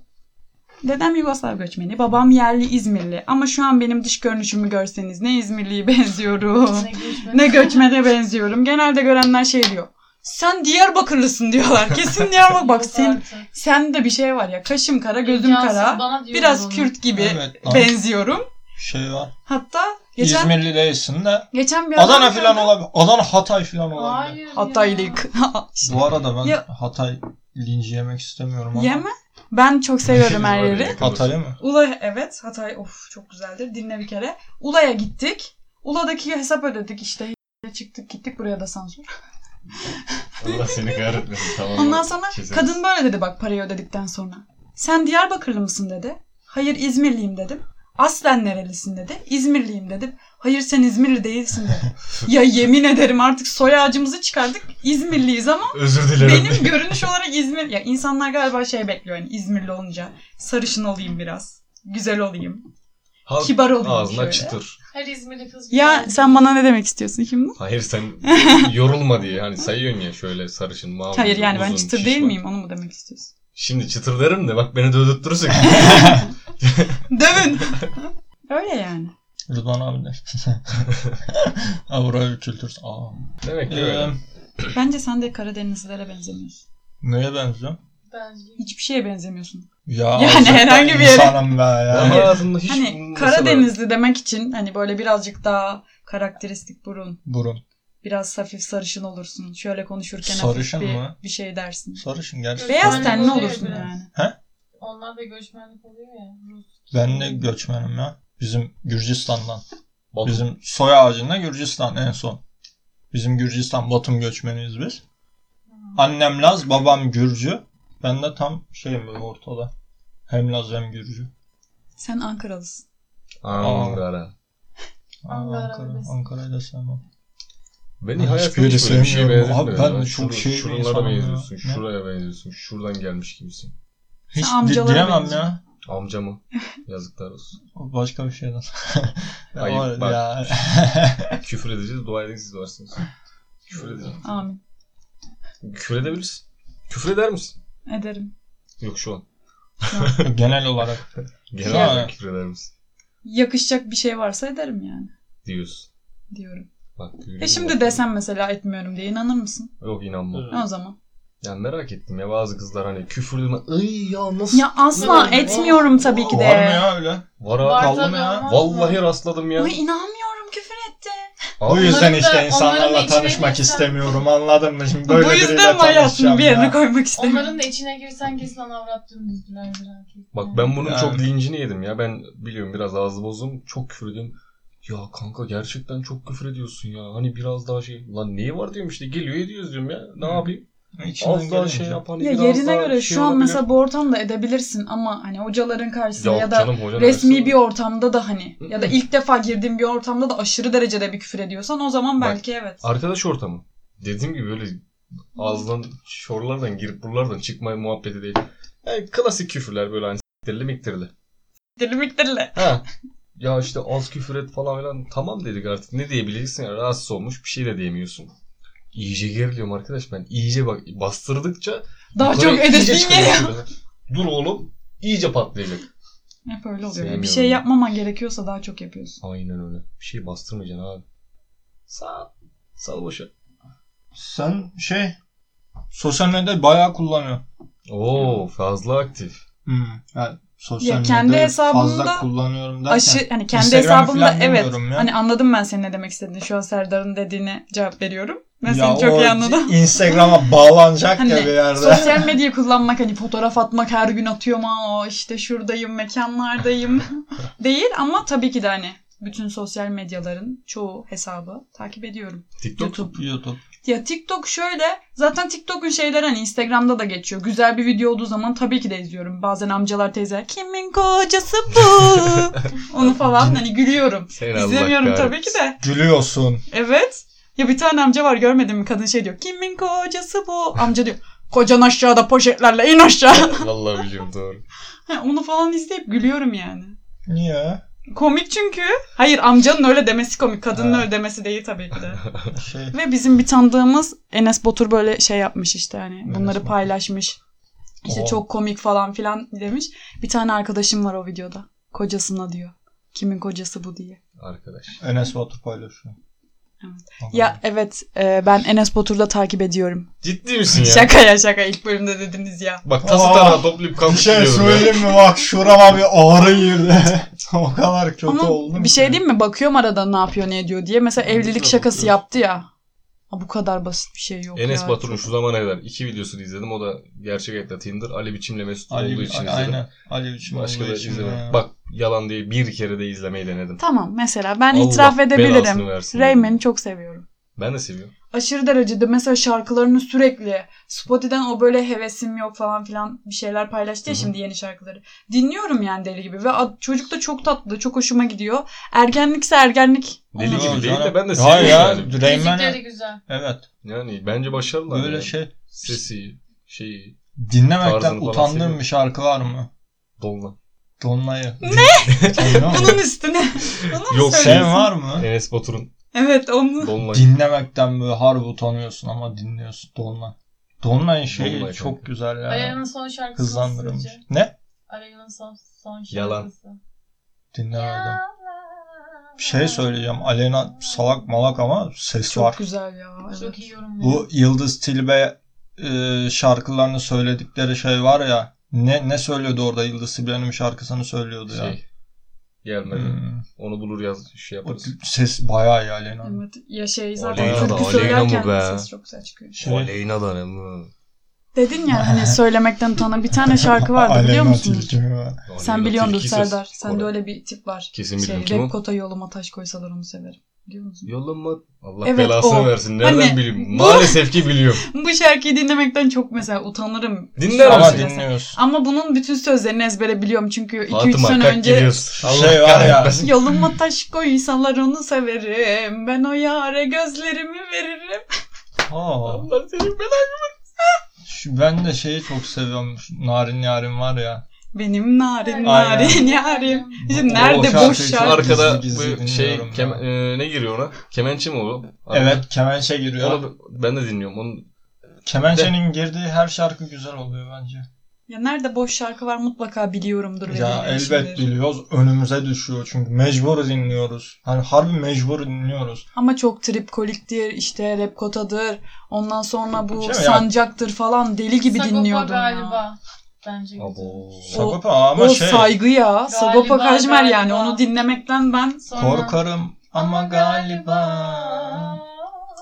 S2: Dedem Yugoslav göçmeni, babam yerli İzmirli. Ama şu an benim dış görünüşümü görseniz ne İzmirli'ye benziyorum.
S1: Ne göçmeni.
S2: ne göçmene benziyorum. Genelde görenler şey diyor. Sen Diyarbakırlısın diyorlar. Kesin Diyarbakır. Bak
S1: Yok
S2: sen,
S1: artık.
S2: sende bir şey var ya. Kaşım kara, gözüm
S1: İmkansız,
S2: kara.
S1: bana diyor
S2: Biraz
S1: bunu.
S2: Kürt gibi
S3: Evet, lan.
S2: benziyorum.
S3: Şey var.
S2: Hatta geçen
S3: İzmirli değilsin de.
S2: geçen bir
S3: Adana
S2: adam
S3: filan
S2: gördüm.
S3: olabilir. Adana Hatay filan olabilir.
S1: Hayır ya.
S2: Hataylık.
S3: Bu arada ben
S2: Ya-
S3: Hatay linci yemek istemiyorum ama.
S2: Yeme. Ben çok seviyorum her
S4: Var ya,
S2: yeri.
S4: yakın
S3: Hatay'ı mı?
S2: Ula evet Hatay of çok güzeldir dinle bir kere. Ula'ya gittik. Ula'daki hesap ödedik işte çıktık gittik buraya da sansür.
S4: dostum. Allah seni kahretmesin tamam.
S2: Ondan sonra
S4: Keseriz.
S2: kadın böyle dedi bak parayı ödedikten sonra. Sen Diyarbakırlı mısın dedi. Hayır İzmirliyim dedim. Aslen nerelisin dedi. İzmirliyim dedim. Hayır sen İzmirli değilsin dedi. ya yemin ederim artık soy ağacımızı çıkardık. İzmirliyiz ama
S4: Özür dilerim.
S2: benim görünüş olarak İzmir... Ya insanlar galiba şey bekliyor yani İzmirli olunca. Sarışın olayım biraz. Güzel olayım.
S4: Halk
S2: kibar olayım
S4: Ağzına
S2: şöyle.
S4: çıtır.
S1: Her İzmirli kız.
S2: Ya
S1: güzel.
S2: sen bana ne demek istiyorsun şimdi?
S4: Hayır sen yorulma diye hani sayıyorsun ya şöyle sarışın, mavi,
S2: Hayır yani ben
S4: uzun,
S2: çıtır değil
S4: şişman.
S2: miyim onu mu demek istiyorsun?
S4: Şimdi çıtır derim de bak beni de ödüttürürsek.
S2: Dövün. Öyle yani.
S3: Rıdvan abi de. Avrupa'yı kültür. Aa.
S4: Demek ki
S3: Ee,
S4: öyle.
S2: Bence sen de Karadenizlilere benzemiyorsun.
S3: neye benziyorum?
S1: Bence.
S2: Hiçbir şeye benzemiyorsun.
S3: Ya
S2: Yani
S3: azıcık da
S2: herhangi bir yere.
S3: insanım be ya.
S4: Ben hayatımda hiç
S2: hani
S4: mesela-
S2: Karadenizli demek için hani böyle birazcık daha karakteristik burun,
S3: Burun.
S2: biraz hafif sarışın olursun. Şöyle konuşurken
S3: Sarışın
S2: hafif bir,
S3: mı?
S2: bir şey dersin.
S3: Sarışın gerçekten.
S2: Beyaz
S1: Sarı
S2: tenli
S1: oluyor
S2: olursun
S1: biraz.
S2: yani.
S1: Onlar da göçmenlik oluyor ya. Rus.
S3: Ben de göçmenim ya. Bizim Gürcistan'dan.
S4: Bak,
S3: Bizim soy ağacında Gürcistan en son. Bizim Gürcistan Batum göçmeniyiz biz. Annem Laz, babam Gürcü. Ben de tam şeyim böyle ortada. Hem Laz hem Gürcü.
S2: Sen Ankaralısın.
S4: Ankara.
S3: Aa,
S1: Allah
S3: Ankara,
S1: rahmet eylesin.
S3: Ankara'yı da sevmem.
S4: Beni
S3: Ben
S4: hayatım
S3: hiçbiri
S4: hiç böyle bir şeye
S3: sevmiyorum. Abi
S4: benzetmedi.
S3: ben
S4: ya.
S3: de çok
S4: Şura-
S3: şey bir
S4: Şuralara
S3: insanım ya.
S4: benziyorsun,
S3: Ne?
S4: şuraya benziyorsun, şuradan gelmiş gibisin.
S3: Hiç di-
S2: amcalara
S3: diyemem
S2: benziyorsun.
S3: ya.
S4: Amcamı. Yazıklar olsun.
S3: Başka bir şeyden.
S4: Ayıp,
S3: Ayıp
S4: bak.
S3: ya.
S4: Küfür edeceğiz. Dua edin siz varsınız. Küfür edeceğim.
S2: Amin.
S4: Küfür edebilirsin. Küfür eder misin?
S2: Ederim.
S4: Yok şu an.
S3: Genel olarak.
S4: Genel
S3: Ya.
S4: olarak küfür eder misin?
S2: Yakışacak bir şey varsa ederim yani
S4: Diyorsun.
S2: diyorum.
S4: Bak,
S2: E şimdi desem mesela etmiyorum diye inanır mısın?
S4: Yok inanmam.
S3: Evet.
S2: Ne o zaman?
S4: Yani merak ettim ya bazı kızlar hani küfürlüme ay ya nasıl
S2: Ya asla
S4: Ne?
S2: etmiyorum tabii ki
S3: Var mı
S2: de.
S3: ya öyle?
S1: Var
S4: var abi.
S3: kaldı mı
S1: tabii,
S3: ya?
S1: olmaz mı?
S4: Vallahi rastladım ya.
S2: Ay inanmıyorum küfür etti.
S3: Bu
S4: Abi,
S3: yüzden
S1: Onların da-
S3: işte
S1: onların da
S3: insanlarla
S1: içine
S3: tanışmak
S1: girsen-
S3: istemiyorum anladın mı? Şimdi böyle
S2: Bu yüzden mi hayatını
S3: tanışacağım
S2: bir
S3: ya.
S2: yerine koymak istemiyorum.
S1: Onların da içine girsen kesin ana avrat dümdüzdülerdir erkek.
S4: bak ben bunun
S3: Yani.
S4: çok lincini yedim ya. Ben biliyorum biraz ağzı bozum. Çok küfür ediyorum. Ya kanka gerçekten çok küfür ediyorsun ya. Hani biraz daha şey. Lan neyi var diyorum işte geliyor ediyoruz diyorum ya. Ne
S3: Hı.
S4: yapayım?
S3: İçinden
S4: Az daha şey
S3: gelince.
S4: yap hani
S2: Ya
S4: biraz
S2: yerine
S4: daha
S2: göre
S4: şey
S2: şu an
S4: olabilir.
S2: mesela bu ortamda edebilirsin ama hani hocaların karşısında
S4: Yok
S2: ya da
S4: canım, hocanın
S2: resmi
S4: arasında.
S2: bir ortamda da hani
S4: Hı hı.
S2: ya da ilk defa girdiğin bir ortamda da aşırı derecede bir küfür ediyorsan o zaman
S4: Bak,
S2: belki evet.
S4: Arkadaş ortamı. Dediğim gibi böyle ağızdan şorlardan girip buralardan çıkma muhabbeti değil. Yani klasik küfürler böyle hani s**tirli miktirli.
S2: Dili miktirli.
S4: Ha. Ya işte az küfür et falan filan. Tamam dedik artık. Ne diyebilirsin ya? Rahatsız olmuş. Bir şey de diyemiyorsun. İyice geriliyorum arkadaş ben. İyice bak bastırdıkça
S2: Daha
S4: yukarı
S2: çok
S4: iyice
S2: edesin
S4: çıkıyor
S2: geliyor.
S4: şöyle. Dur oğlum. iyice patlayacak.
S2: Hep öyle oluyor.
S4: Sevmiyorum.
S2: Bir şey yapmaman gerekiyorsa daha çok yapıyorsun.
S4: Aynen öyle. Bir şey bastırmayacaksın abi. Sağ. Sal boşa.
S3: Sen şey sosyal medyayı bayağı kullanıyor.
S4: Oo fazla aktif.
S3: Hmm. Yani sosyal
S2: Ya kendi
S3: medyayı
S2: hesabımda
S3: fazla kullanıyorum derken.
S2: Aşı hani kendi
S3: Instagram'ı
S2: hesabımda
S3: falan
S2: evet.
S3: demiyorum ya.
S2: Hani anladım ben senin ne demek istediğini. Şu an Serdar'ın dediğine cevap veriyorum. Ben
S3: Ya
S2: seni çok
S3: o
S2: iyi anladım.
S3: Instagram'a bağlanacak
S2: Hani
S3: ya bir yerde.
S2: Sosyal medyayı kullanmak hani fotoğraf atmak her gün atıyorum ama işte şuradayım mekanlardayım değil ama tabii ki de hani bütün sosyal medyaların çoğu hesabı takip ediyorum.
S4: TikTok.
S3: YouTube, YouTube.
S2: Ya TikTok şöyle zaten TikTok'un şeyleri hani Instagram'da da geçiyor. Güzel bir video olduğu zaman tabii ki de izliyorum. Bazen amcalar teyzeler kimin kocası bu? Onu falan hani gülüyorum.
S4: Sen Allah
S2: İzlemiyorum tabii ki
S4: kahretsin.
S2: de.
S3: Gülüyorsun.
S2: Evet. Ya bir tane amca var görmedin mi? Kadın şey diyor. Kimin kocası bu? Amca diyor. Kocan aşağıda poşetlerle in aşağı.
S4: Vallahi biliyorum doğru.
S2: Ha, Onu falan izleyip gülüyorum yani.
S3: Niye?
S2: Komik çünkü. Hayır amcanın öyle demesi komik. Kadının
S3: Ha.
S2: öyle demesi değil tabii ki de.
S3: Şey,
S2: Ve bizim bir tanıdığımız Enes Batur böyle şey yapmış işte hani
S3: Enes
S2: bunları
S3: Batur. Oh.
S2: paylaşmış. İşte
S3: Oo.
S2: çok komik falan filan demiş. Bir tane arkadaşım var o videoda. Kocasına diyor. Kimin kocası bu diye.
S4: Arkadaş.
S3: Enes Batur paylaşıyor.
S2: Evet.
S3: Adam.
S2: Ya evet e, ben Enes Batur'u da takip ediyorum.
S4: Ciddi misin ya?
S2: Şaka ya şaka ilk bölümde dediniz ya.
S4: Bak tası
S3: Aa.
S4: tarağı toplayıp
S3: Bir
S4: kalkıp
S3: şey
S4: gidiyorum ya.
S3: söyleyeyim mi? Bak şurama bir ağrı girdi. o kadar kötü
S2: Ama
S3: oldum.
S2: bir
S3: ki.
S2: şey diyeyim mi? Bakıyorum arada ne yapıyor ne ediyor diye. Mesela
S4: Tabii
S2: evlilik
S4: ki de
S2: şakası
S4: bakıyoruz.
S2: yaptı ya. Aa, bu kadar basit bir şey yok
S4: Enes
S2: ya.
S4: Batur'un şu zamana kadar iki videosunu izledim. O da gerçek hayatta Tinder. Ali Biçim'le Mesut
S3: Ali,
S4: olduğu için
S3: Ali,
S4: izledim.
S3: aynen. Ali biçim
S4: Başka
S3: olduğu
S4: da
S3: için.
S4: izlemedim.
S3: ya.
S4: Bak yalan değil bir kere de izlemeyi denedim.
S2: Tamam mesela ben
S4: Allah
S2: itiraf edebilirim.
S4: belasını versin.
S2: Rayman'i çok seviyorum.
S4: Ben de seviyorum.
S2: Aşırı derecede mesela şarkılarını sürekli Spotify'dan o böyle hevesim yok falan filan bir şeyler paylaştı ya
S4: Hı hı.
S2: şimdi yeni şarkıları. Dinliyorum yani deli gibi ve ad- çocuk da çok tatlı, çok hoşuma gidiyor. Ergenlikse ergenlik.
S4: Deli
S2: Onu-
S4: gibi
S3: Yok
S4: değil de
S3: canım.
S4: ben de
S3: Ya
S4: seviyorum
S3: ya
S4: yani.
S3: Reymen
S1: Müzikleri güzel.
S3: evet
S4: Yani bence başarılı.
S3: böyle şey
S4: Sesi, şeyi,
S3: dinlemekten
S4: Tarzını falan
S3: utandığım
S4: seviyorum.
S3: bir şarkı var mı?
S4: dolma.
S3: Dolunay'ı. Ne?
S2: Bunun üstüne. Bunu
S4: Yok, şey-
S2: Yok,
S4: sen
S3: Sen var mı?
S4: Enes Batur'un
S2: Evet onu.
S4: Dolunay.
S3: Dinlemekten böyle harbi utanıyorsun ama dinliyorsun Dolunay. Dolunay'ın şeyi
S4: Dolunay
S3: çok
S4: kanka.
S3: güzel ya.
S1: Alena'nın son şarkısı
S3: Hızlandırılmış.
S1: nasıl sizce?
S3: Ne?
S1: Alena'nın son, son
S4: Yalan.
S1: şarkısı.
S3: Dinlemedim. Bir şey söyleyeceğim. Alena salak malak ama ses
S2: Çok
S3: var.
S2: güzel ya. Evet.
S1: Çok iyi yorumluyor.
S3: Bu Yıldız Tilbe e, şarkılarını söyledikleri şey var ya. Ne ne söylüyordu orada Yıldız Tilbe'nin bir şarkısını söylüyordu ya.
S4: Şey. Gelmedi.
S3: Hmm.
S4: Onu bulur yaz şey
S3: O
S4: yaparız.
S3: ses bayağı iyi Alena'nın.
S2: Evet. Ya şey zaten
S4: Aleyna
S3: da,
S2: türkü
S4: Aleyna
S2: söylerken
S4: mı be?
S2: ses çok güzel çıkıyor.
S3: Şey-
S4: Aleyna da ne bu?
S2: Dedin ya hani söylemekten utana bir tane şarkı vardı biliyor
S3: Alena
S2: musunuz?
S3: Tilki mi?
S4: Aleyna
S2: Sen biliyordur
S4: tilki ses.
S2: Serdar. Sende
S4: Kore.
S2: öyle bir tip var.
S4: Kesin biliyorum.
S2: Şey,
S4: Kim o?
S2: Repkota yoluma taş koysalar onu severim. Biliyor musun?
S4: Yollama. Allah
S2: Evet,
S4: belasını
S2: o.
S4: versin. Nereden
S2: Anne,
S4: bileyim?
S2: bu-
S4: Maalesef ki biliyorum.
S2: Bu şarkıyı dinlemekten çok mesela utanırım.
S4: Dinler
S2: Ama
S3: Ama
S4: misin?
S2: dinle-
S3: dinliyorsun.
S2: Ama bunun bütün sözlerini ezbere biliyorum çünkü 2-3
S4: Fatıma
S2: sene
S4: kalk
S2: önce
S4: gidiyoruz.
S3: Şu
S4: Allah
S3: şey var ya.
S4: kahretmesin.
S2: yoluma taş koysalar onu severim. Ben o yare gözlerimi veririm.
S3: Aa,
S4: Allah senin belanı.
S3: şu- ben de şeyi çok seviyorum. Şu Narin Yarim var ya.
S2: Benim narin
S3: Aynen.
S2: narin yarim. İşte
S3: O
S2: nerede
S3: şarkıyı
S2: boş
S3: çok-
S2: şarkı?
S4: Arkada
S3: Gizli gizli
S4: bu şey
S3: dinliyorum
S4: kem- e, ne giriyor ona? Kemençe mi o? Arkada.
S3: Evet kemençe giriyor.
S4: Onu ben de dinliyorum. Onun
S3: Kemençenin girdiği her şarkı güzel oluyor bence.
S2: Ya nerede boş şarkı var mutlaka biliyorumdur. ve
S3: Ya elbet
S2: dinlemişimdir.
S3: biliyoruz. Önümüze düşüyor çünkü. Mecbur dinliyoruz. Hani harbi mecbur dinliyoruz.
S2: Ama çok tripkoliktir işte repkotadır. Ondan sonra bu
S3: Değil Şey mi ya?
S2: sancaktır falan deli gibi
S1: Sagopa
S2: dinliyordum
S1: galiba.
S2: ya.
S1: Bence güzel.
S4: Abo.
S3: Sagopa ama
S2: o
S3: şey
S2: saygı ya. Sagopa
S1: Galiba,
S2: Kajmer yani.
S1: galiba.
S2: Onu dinlemekten ben
S1: Sonra-
S3: korkarım ama galiba.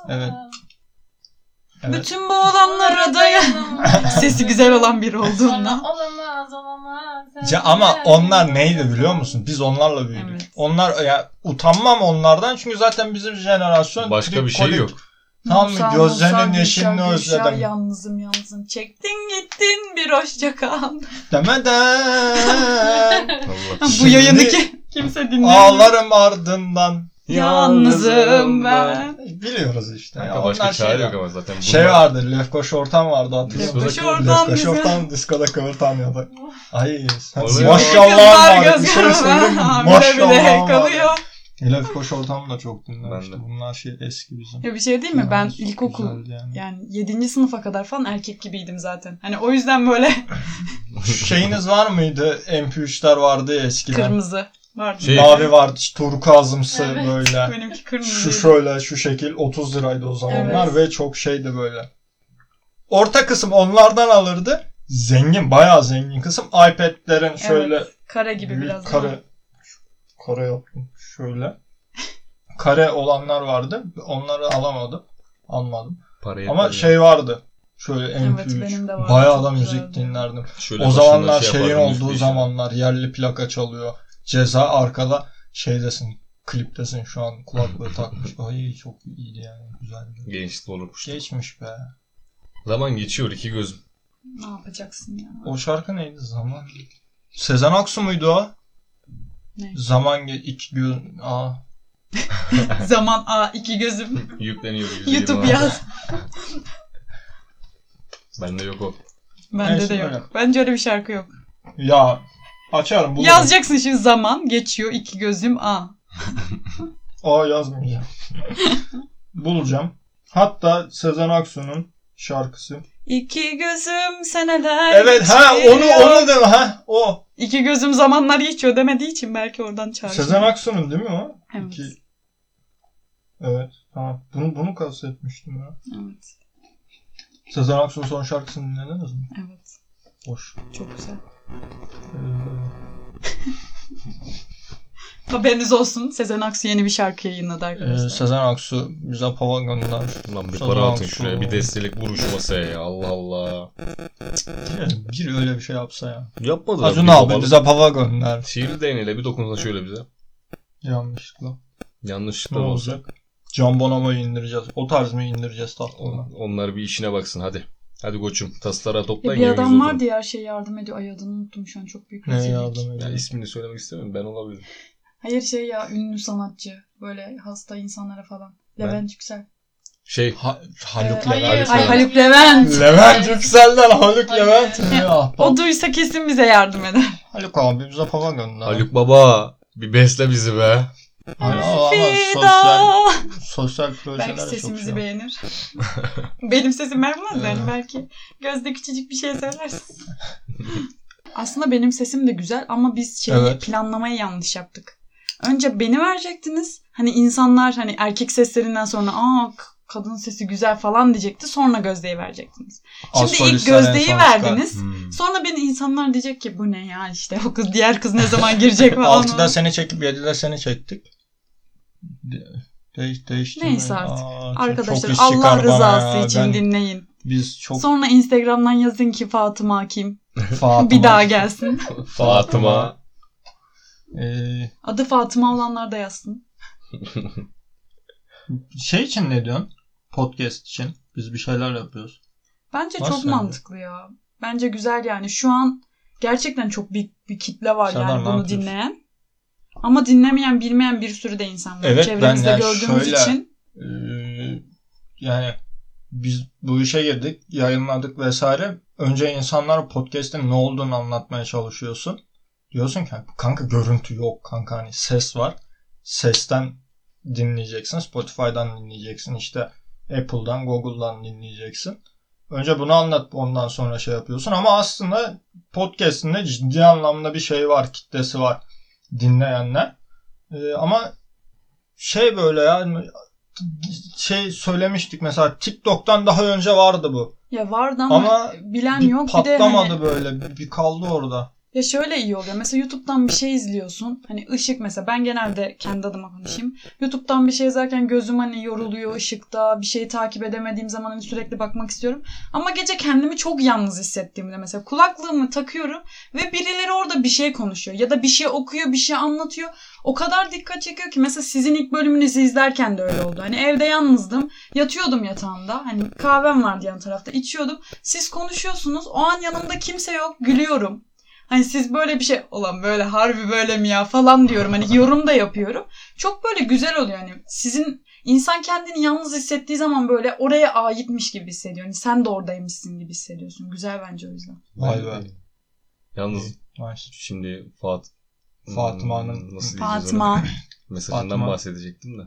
S3: Evet. Evet.
S2: bütün bu olanlara dayan. Sesi güzel olan biri olduğundan.
S1: Sonra olamaz olamaz.
S3: Ya ama onlar neydi biliyor musun? Biz onlarla büyüdük.
S2: Evet.
S3: Onlar ya utanmam onlardan çünkü zaten bizim jenerasyon
S4: Başka bir şey
S3: tripkolik.
S4: yok.
S3: Tamam
S2: Musa,
S3: mı? Gözlerinin
S2: Musa,
S3: yeşilini
S2: Gülşah, Gülşah,
S3: özledim.
S2: Yalnızım yalnızım. Çektin gittin bir hoşça kal.
S3: Demeden
S4: Allah.
S2: Ha, Bu
S3: Şimdi-
S2: yayını ki kimse dinlemiyor.
S3: ağlarım ardından.
S2: Yalnızım ben.
S3: Biliyoruz işte. ya.
S4: Kanka başka
S3: Onlar
S4: çare
S3: şeyler.
S4: yok ama zaten.
S3: Şey
S4: Bunlar-
S3: vardı, Lefkoş Ortam vardı hatırlıyor
S4: Lefkoş
S3: musun?
S2: Ortam
S3: Lefkoş
S2: bize.
S3: Ortam diskoda cover tanıyordu. Ay sen-
S4: Oluyor.
S3: maşallah
S2: Kızlar
S3: var.
S2: göz
S3: Bir şey söyleyeyim mi?
S2: karma. Bile bile
S3: Maşallah var.
S2: kalıyor.
S3: Lefkoş Ortam da çok
S4: Ben
S3: dinlemiştim.
S4: de.
S3: Bunlar şey eski bizim.
S2: Ya bir şey değil mi? Ben
S3: Çok
S2: ilkokul
S3: güzeldi yani.
S2: yani 7. sınıfa kadar falan erkek gibiydim zaten. Hani o yüzden böyle
S3: Şu Şeyiniz var mıydı? MP3'ler vardı ya eskiden.
S2: kırmızı vardı.
S4: Şey-
S3: Mavi vardı, turkuazımsı
S1: Evet.
S3: böyle.
S2: Benimki kırmızı.
S3: Şu şöyle, şu şekil 30 liraydı o zamanlar
S2: Evet.
S3: ve çok şeydi böyle. Orta kısım onlardan alırdı. Zengin, bayağı zengin kısım iPad'lerin şöyle
S2: kara gibi
S3: büyük
S2: biraz.
S3: kare
S2: daha.
S3: kare yaptım şöyle. Kare olanlar vardı. Onları alamadım. Almadım.
S4: Parayı
S3: Ama
S4: parayı-
S3: şey vardı. Şöyle MP3.
S2: benim de vardı.
S3: bayağı da
S2: Çok
S3: müzik
S2: güzeldi.
S3: dinlerdim.
S4: Şöyle
S3: o
S4: başında
S3: zamanlar
S4: şey
S3: şeyin
S4: yapardım,
S3: olduğu
S4: üstü
S3: zamanlar yerli plaka çalıyor. Ceza arkada şeydesin. Kliptesin şu an kulaklığı takmış. Ay çok iyiydi yani. Güzeldi.
S4: işte. Gençlik olurmuş.
S3: Geçmiş be.
S4: Zaman geçiyor iki gözüm.
S2: Ne yapacaksın ya?
S3: O şarkı neydi? Zaman. Sezen Aksu muydu o?
S2: Ne?
S3: Zaman ge- iki gün. Aa.
S2: Zaman a iki gözüm.
S4: Yükleniyor. yüzüğüm
S2: YouTube
S4: abi.
S2: yaz.
S4: Bende yok o.
S2: Bende
S3: Neyse,
S2: de yok.
S3: öyle.
S2: Bence öyle bir şarkı yok.
S3: Ya açarım bulurum.
S2: Yazacaksın şimdi zaman geçiyor iki gözüm a.
S3: Aa yazmayacağım. Bulacağım. Hatta Sezen Aksu'nun şarkısı.
S2: İki gözüm seneler
S3: Evet ha
S2: geçiyor.
S3: onu onu da ha o.
S2: İki gözüm zamanlar geçiyor demediği için belki oradan çağırıyor.
S3: Sezen Aksu'nun değil mi o?
S2: Evet.
S3: İki- Evet. Tamam. Bunu bunu kastetmiştim ya.
S2: Evet.
S3: Sezen Aksu'nun son şarkısını dinlediniz mi?
S2: Evet.
S3: Hoş.
S2: Çok güzel.
S3: Ee,
S2: Haberiniz olsun. Sezen Aksu yeni bir şarkı yayınladı
S3: e,
S2: arkadaşlar.
S3: Sezen Aksu bize pava gönder.
S4: Lan bir
S3: Sezen
S4: para atın
S3: Aksu.
S4: şuraya bir destelik vuruş masaya ya. Allah Allah.
S3: Bir öyle bir şey yapsa ya.
S4: Yapmadılar.
S3: Acun
S4: bir
S3: abi
S4: babalık.
S3: bize pava gönder.
S4: Sihirli değneğiyle bir dokunsa şöyle bize.
S3: Yanlışlıkla. Ne
S4: Yanlışlıkla da olsa.
S3: olacak? Can Bonomo'yu indireceğiz. O tarz mı indireceğiz tatlına?
S4: On- Onlar bir işine baksın hadi. Hadi koçum taslara
S2: Ya
S4: toplayın.
S2: E, bir adam
S4: yerimiz
S2: var
S4: oldu.
S2: diye her şeye yardım ediyor. Ay adını unuttum şu an çok büyük
S3: Ne
S2: rezillik.
S3: yardım
S4: Ya
S3: ediyor?
S4: ismini söylemek istemiyorum ben olabilirim.
S2: Hayır şey ya ünlü sanatçı. Böyle hasta insanlara falan.
S4: Ben-
S2: Levent Yüksel.
S4: Şey
S3: Ha- Haluk Levent.
S2: Ee, Ay
S4: Levent.
S2: Haluk Levent.
S3: Levent Yüksel'den Haluk
S1: Ay,
S3: Levent.
S1: evet.
S3: mi? Ah,
S2: O
S3: bak.
S2: duysa kesin bize yardım eder.
S3: Haluk abi bize pava gönder.
S4: Haluk Baba bir besle bizi be.
S3: Ay, ama- ama sosyal,
S2: Fida.
S3: sosyal projeler
S2: Belki
S3: çok
S2: sesimizi
S3: şey.
S2: beğenir. Benim sesim vermez yani
S3: Evet.
S2: belki. Gözde küçücük bir şey söylersin. Aslında benim sesim de güzel ama biz şeyi
S3: Evet.
S2: planlamayı yanlış yaptık. Önce beni verecektiniz. Hani insanlar hani erkek seslerinden sonra aa k- kadın sesi güzel falan diyecekti. Sonra Gözde'yi verecektiniz.
S3: Az
S2: Şimdi ilk
S3: solistler en
S2: Gözde'yi
S3: son çıkar. Hmm.
S2: verdiniz. Sonra beni insanlar diyecek ki bu ne ya işte o kız diğer kız ne zaman girecek falan.
S3: Altıda seni çekip 7'de seni çektik. De- Değiş, değiştirme.
S2: Neyse artık.
S3: Aa, çok- çok
S2: Arkadaşlar
S3: iş
S2: Allah
S3: çıkar bana
S2: rızası
S3: ya.
S2: için
S3: Ben-
S2: dinleyin.
S3: Biz çok
S2: Sonra Instagram'dan yazın ki Fatıma kim?
S3: Fatıma.
S2: Bir daha gelsin.
S4: Fatıma.
S3: Ee,
S2: Adı Fatıma olanlar da yazsın.
S3: şey için ne diyorsun? Podcast için. Biz bir şeyler yapıyoruz.
S2: Bence
S3: Var
S2: çok
S3: sende.
S2: mantıklı ya. Bence güzel yani. Şu an gerçekten çok büyük bir kitle var
S3: Serdar, ne
S2: yani bunu
S3: yapıyorsun?
S2: dinleyen. Ama dinlemeyen, bilmeyen bir sürü de insan var.
S3: Evet, ben
S2: Çevremizde
S3: yani
S2: gördüğümüz
S3: şöyle-
S2: için.
S3: Ee, yani biz bu işe girdik, yayınladık vesaire. Önce insanlara podcast'in ne olduğunu anlatmaya çalışıyorsun. Diyorsun ki kanka görüntü yok kanka hani ses var. Sesten dinleyeceksin, Spotify'dan dinleyeceksin, işte Apple'dan, Google'dan dinleyeceksin. Önce bunu anlat ondan sonra şey yapıyorsun ama aslında podcast'inde ciddi anlamda bir şey var, kitlesi var dinleyenler. Ee, ama şey böyle yani şey söylemiştik mesela TikTok'tan daha önce vardı bu.
S2: Ya vardı ama,
S3: Ama
S2: bilen
S3: bir
S2: yok bir de
S3: patlamadı
S2: hani,
S3: böyle bir, bir kaldı orada.
S2: ya şöyle iyi oluyor. Mesela YouTube'dan bir şey izliyorsun. Hani ışık mesela ben genelde kendi adıma konuşayım. YouTube'dan bir şey izlerken gözüm hani yoruluyor ışıkta. Bir şeyi takip edemediğim zaman hani sürekli bakmak istiyorum. Ama gece kendimi çok yalnız hissettiğimde mesela kulaklığımı takıyorum ve birileri orada bir şey konuşuyor ya da bir şey okuyor, bir şey anlatıyor. O kadar dikkat çekiyor ki mesela sizin ilk bölümünüzü izlerken de öyle oldu. Hani evde yalnızdım. Yatıyordum yatağımda. Hani kahvem vardı yan tarafta. içiyordum. Siz konuşuyorsunuz. O an yanımda kimse yok. Gülüyorum. Hani siz böyle bir şey olan böyle harbi böyle mi ya falan diyorum. Hani yorum da yapıyorum. Çok böyle güzel oluyor hani. Sizin insan kendini yalnız hissettiği zaman böyle oraya aitmiş gibi hissediyor. Hani sen de oradaymışsın gibi hissediyorsun. Güzel bence o yüzden.
S3: Vay be.
S4: Yalnız
S3: Vay.
S4: şimdi Fat
S3: Fatıma'nın-
S4: Hmm, nasıl diyeceğiz ona?
S2: Fatma.
S4: mesajından
S3: Fatma.
S4: bahsedecektim de.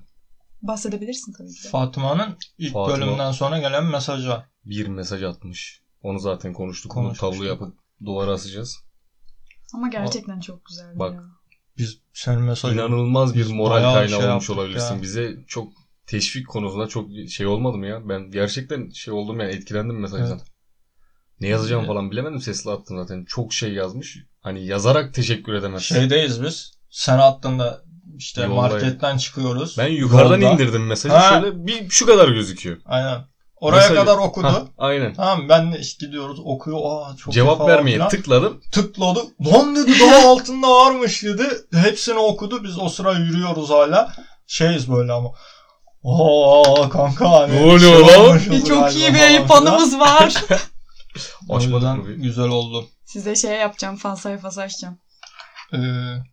S2: Bahsedebilirsin tabii ki. de.
S3: Fatıma'nın ilk
S4: Fatıma-
S3: bölümden sonra gelen mesajı var.
S4: Bir mesaj atmış. Onu zaten konuştuk. Onu
S3: Konuşmuştuk.
S4: tablo yapıp duvara asacağız.
S2: Ama gerçekten çok güzeldi
S4: Bak.
S2: ya.
S3: Biz senin mesajın
S4: İnanılmaz bir
S3: Biz
S4: moral
S3: bayağı
S4: kaynağı
S3: şey
S4: olmuş
S3: yaptık
S4: olabilirsin.
S3: ya.
S4: Bize çok teşvik konusunda çok şey olmadım ya. Ben gerçekten şey oldum yani etkilendim mesajdan. Ne yazacağım
S3: Evet.
S4: falan bilemedim. Sesli attım zaten. Çok şey yazmış. Hani yazarak teşekkür edemezsin.
S3: şeydeyiz biz. Sen attığında işte
S4: Yoldayım.
S3: marketten çıkıyoruz.
S4: ben yukarıdan
S3: Yolda.
S4: indirdim mesajı.
S3: Ha.
S4: Şöyle bir şu kadar gözüküyor.
S3: Aynen. Oraya
S4: Mesajı.
S3: kadar okudu.
S4: Hah, aynen.
S3: Tamam ben de işte gidiyoruz okuyor. Aa, çok iyi
S4: Cevap
S3: falan
S4: vermeye
S3: filan.
S4: tıkladım.
S3: tıkladı. Lan dedi daha altında varmış dedi. Hepsini okudu. Biz o sıra yürüyoruz hala. Şeyiz böyle ama. Oo kanka hani.
S4: Ne oluyor
S3: şey
S4: lan?
S3: olmuşuz
S2: Bir çok
S3: galiba
S2: iyi bir
S3: falan
S2: ayıp
S3: filan.
S2: anımız var.
S3: O
S4: Açmadık
S3: yüzden
S4: mı bir-
S3: Güzel oldu.
S2: Size şey yapacağım fan sayfası açacağım.
S3: Ee,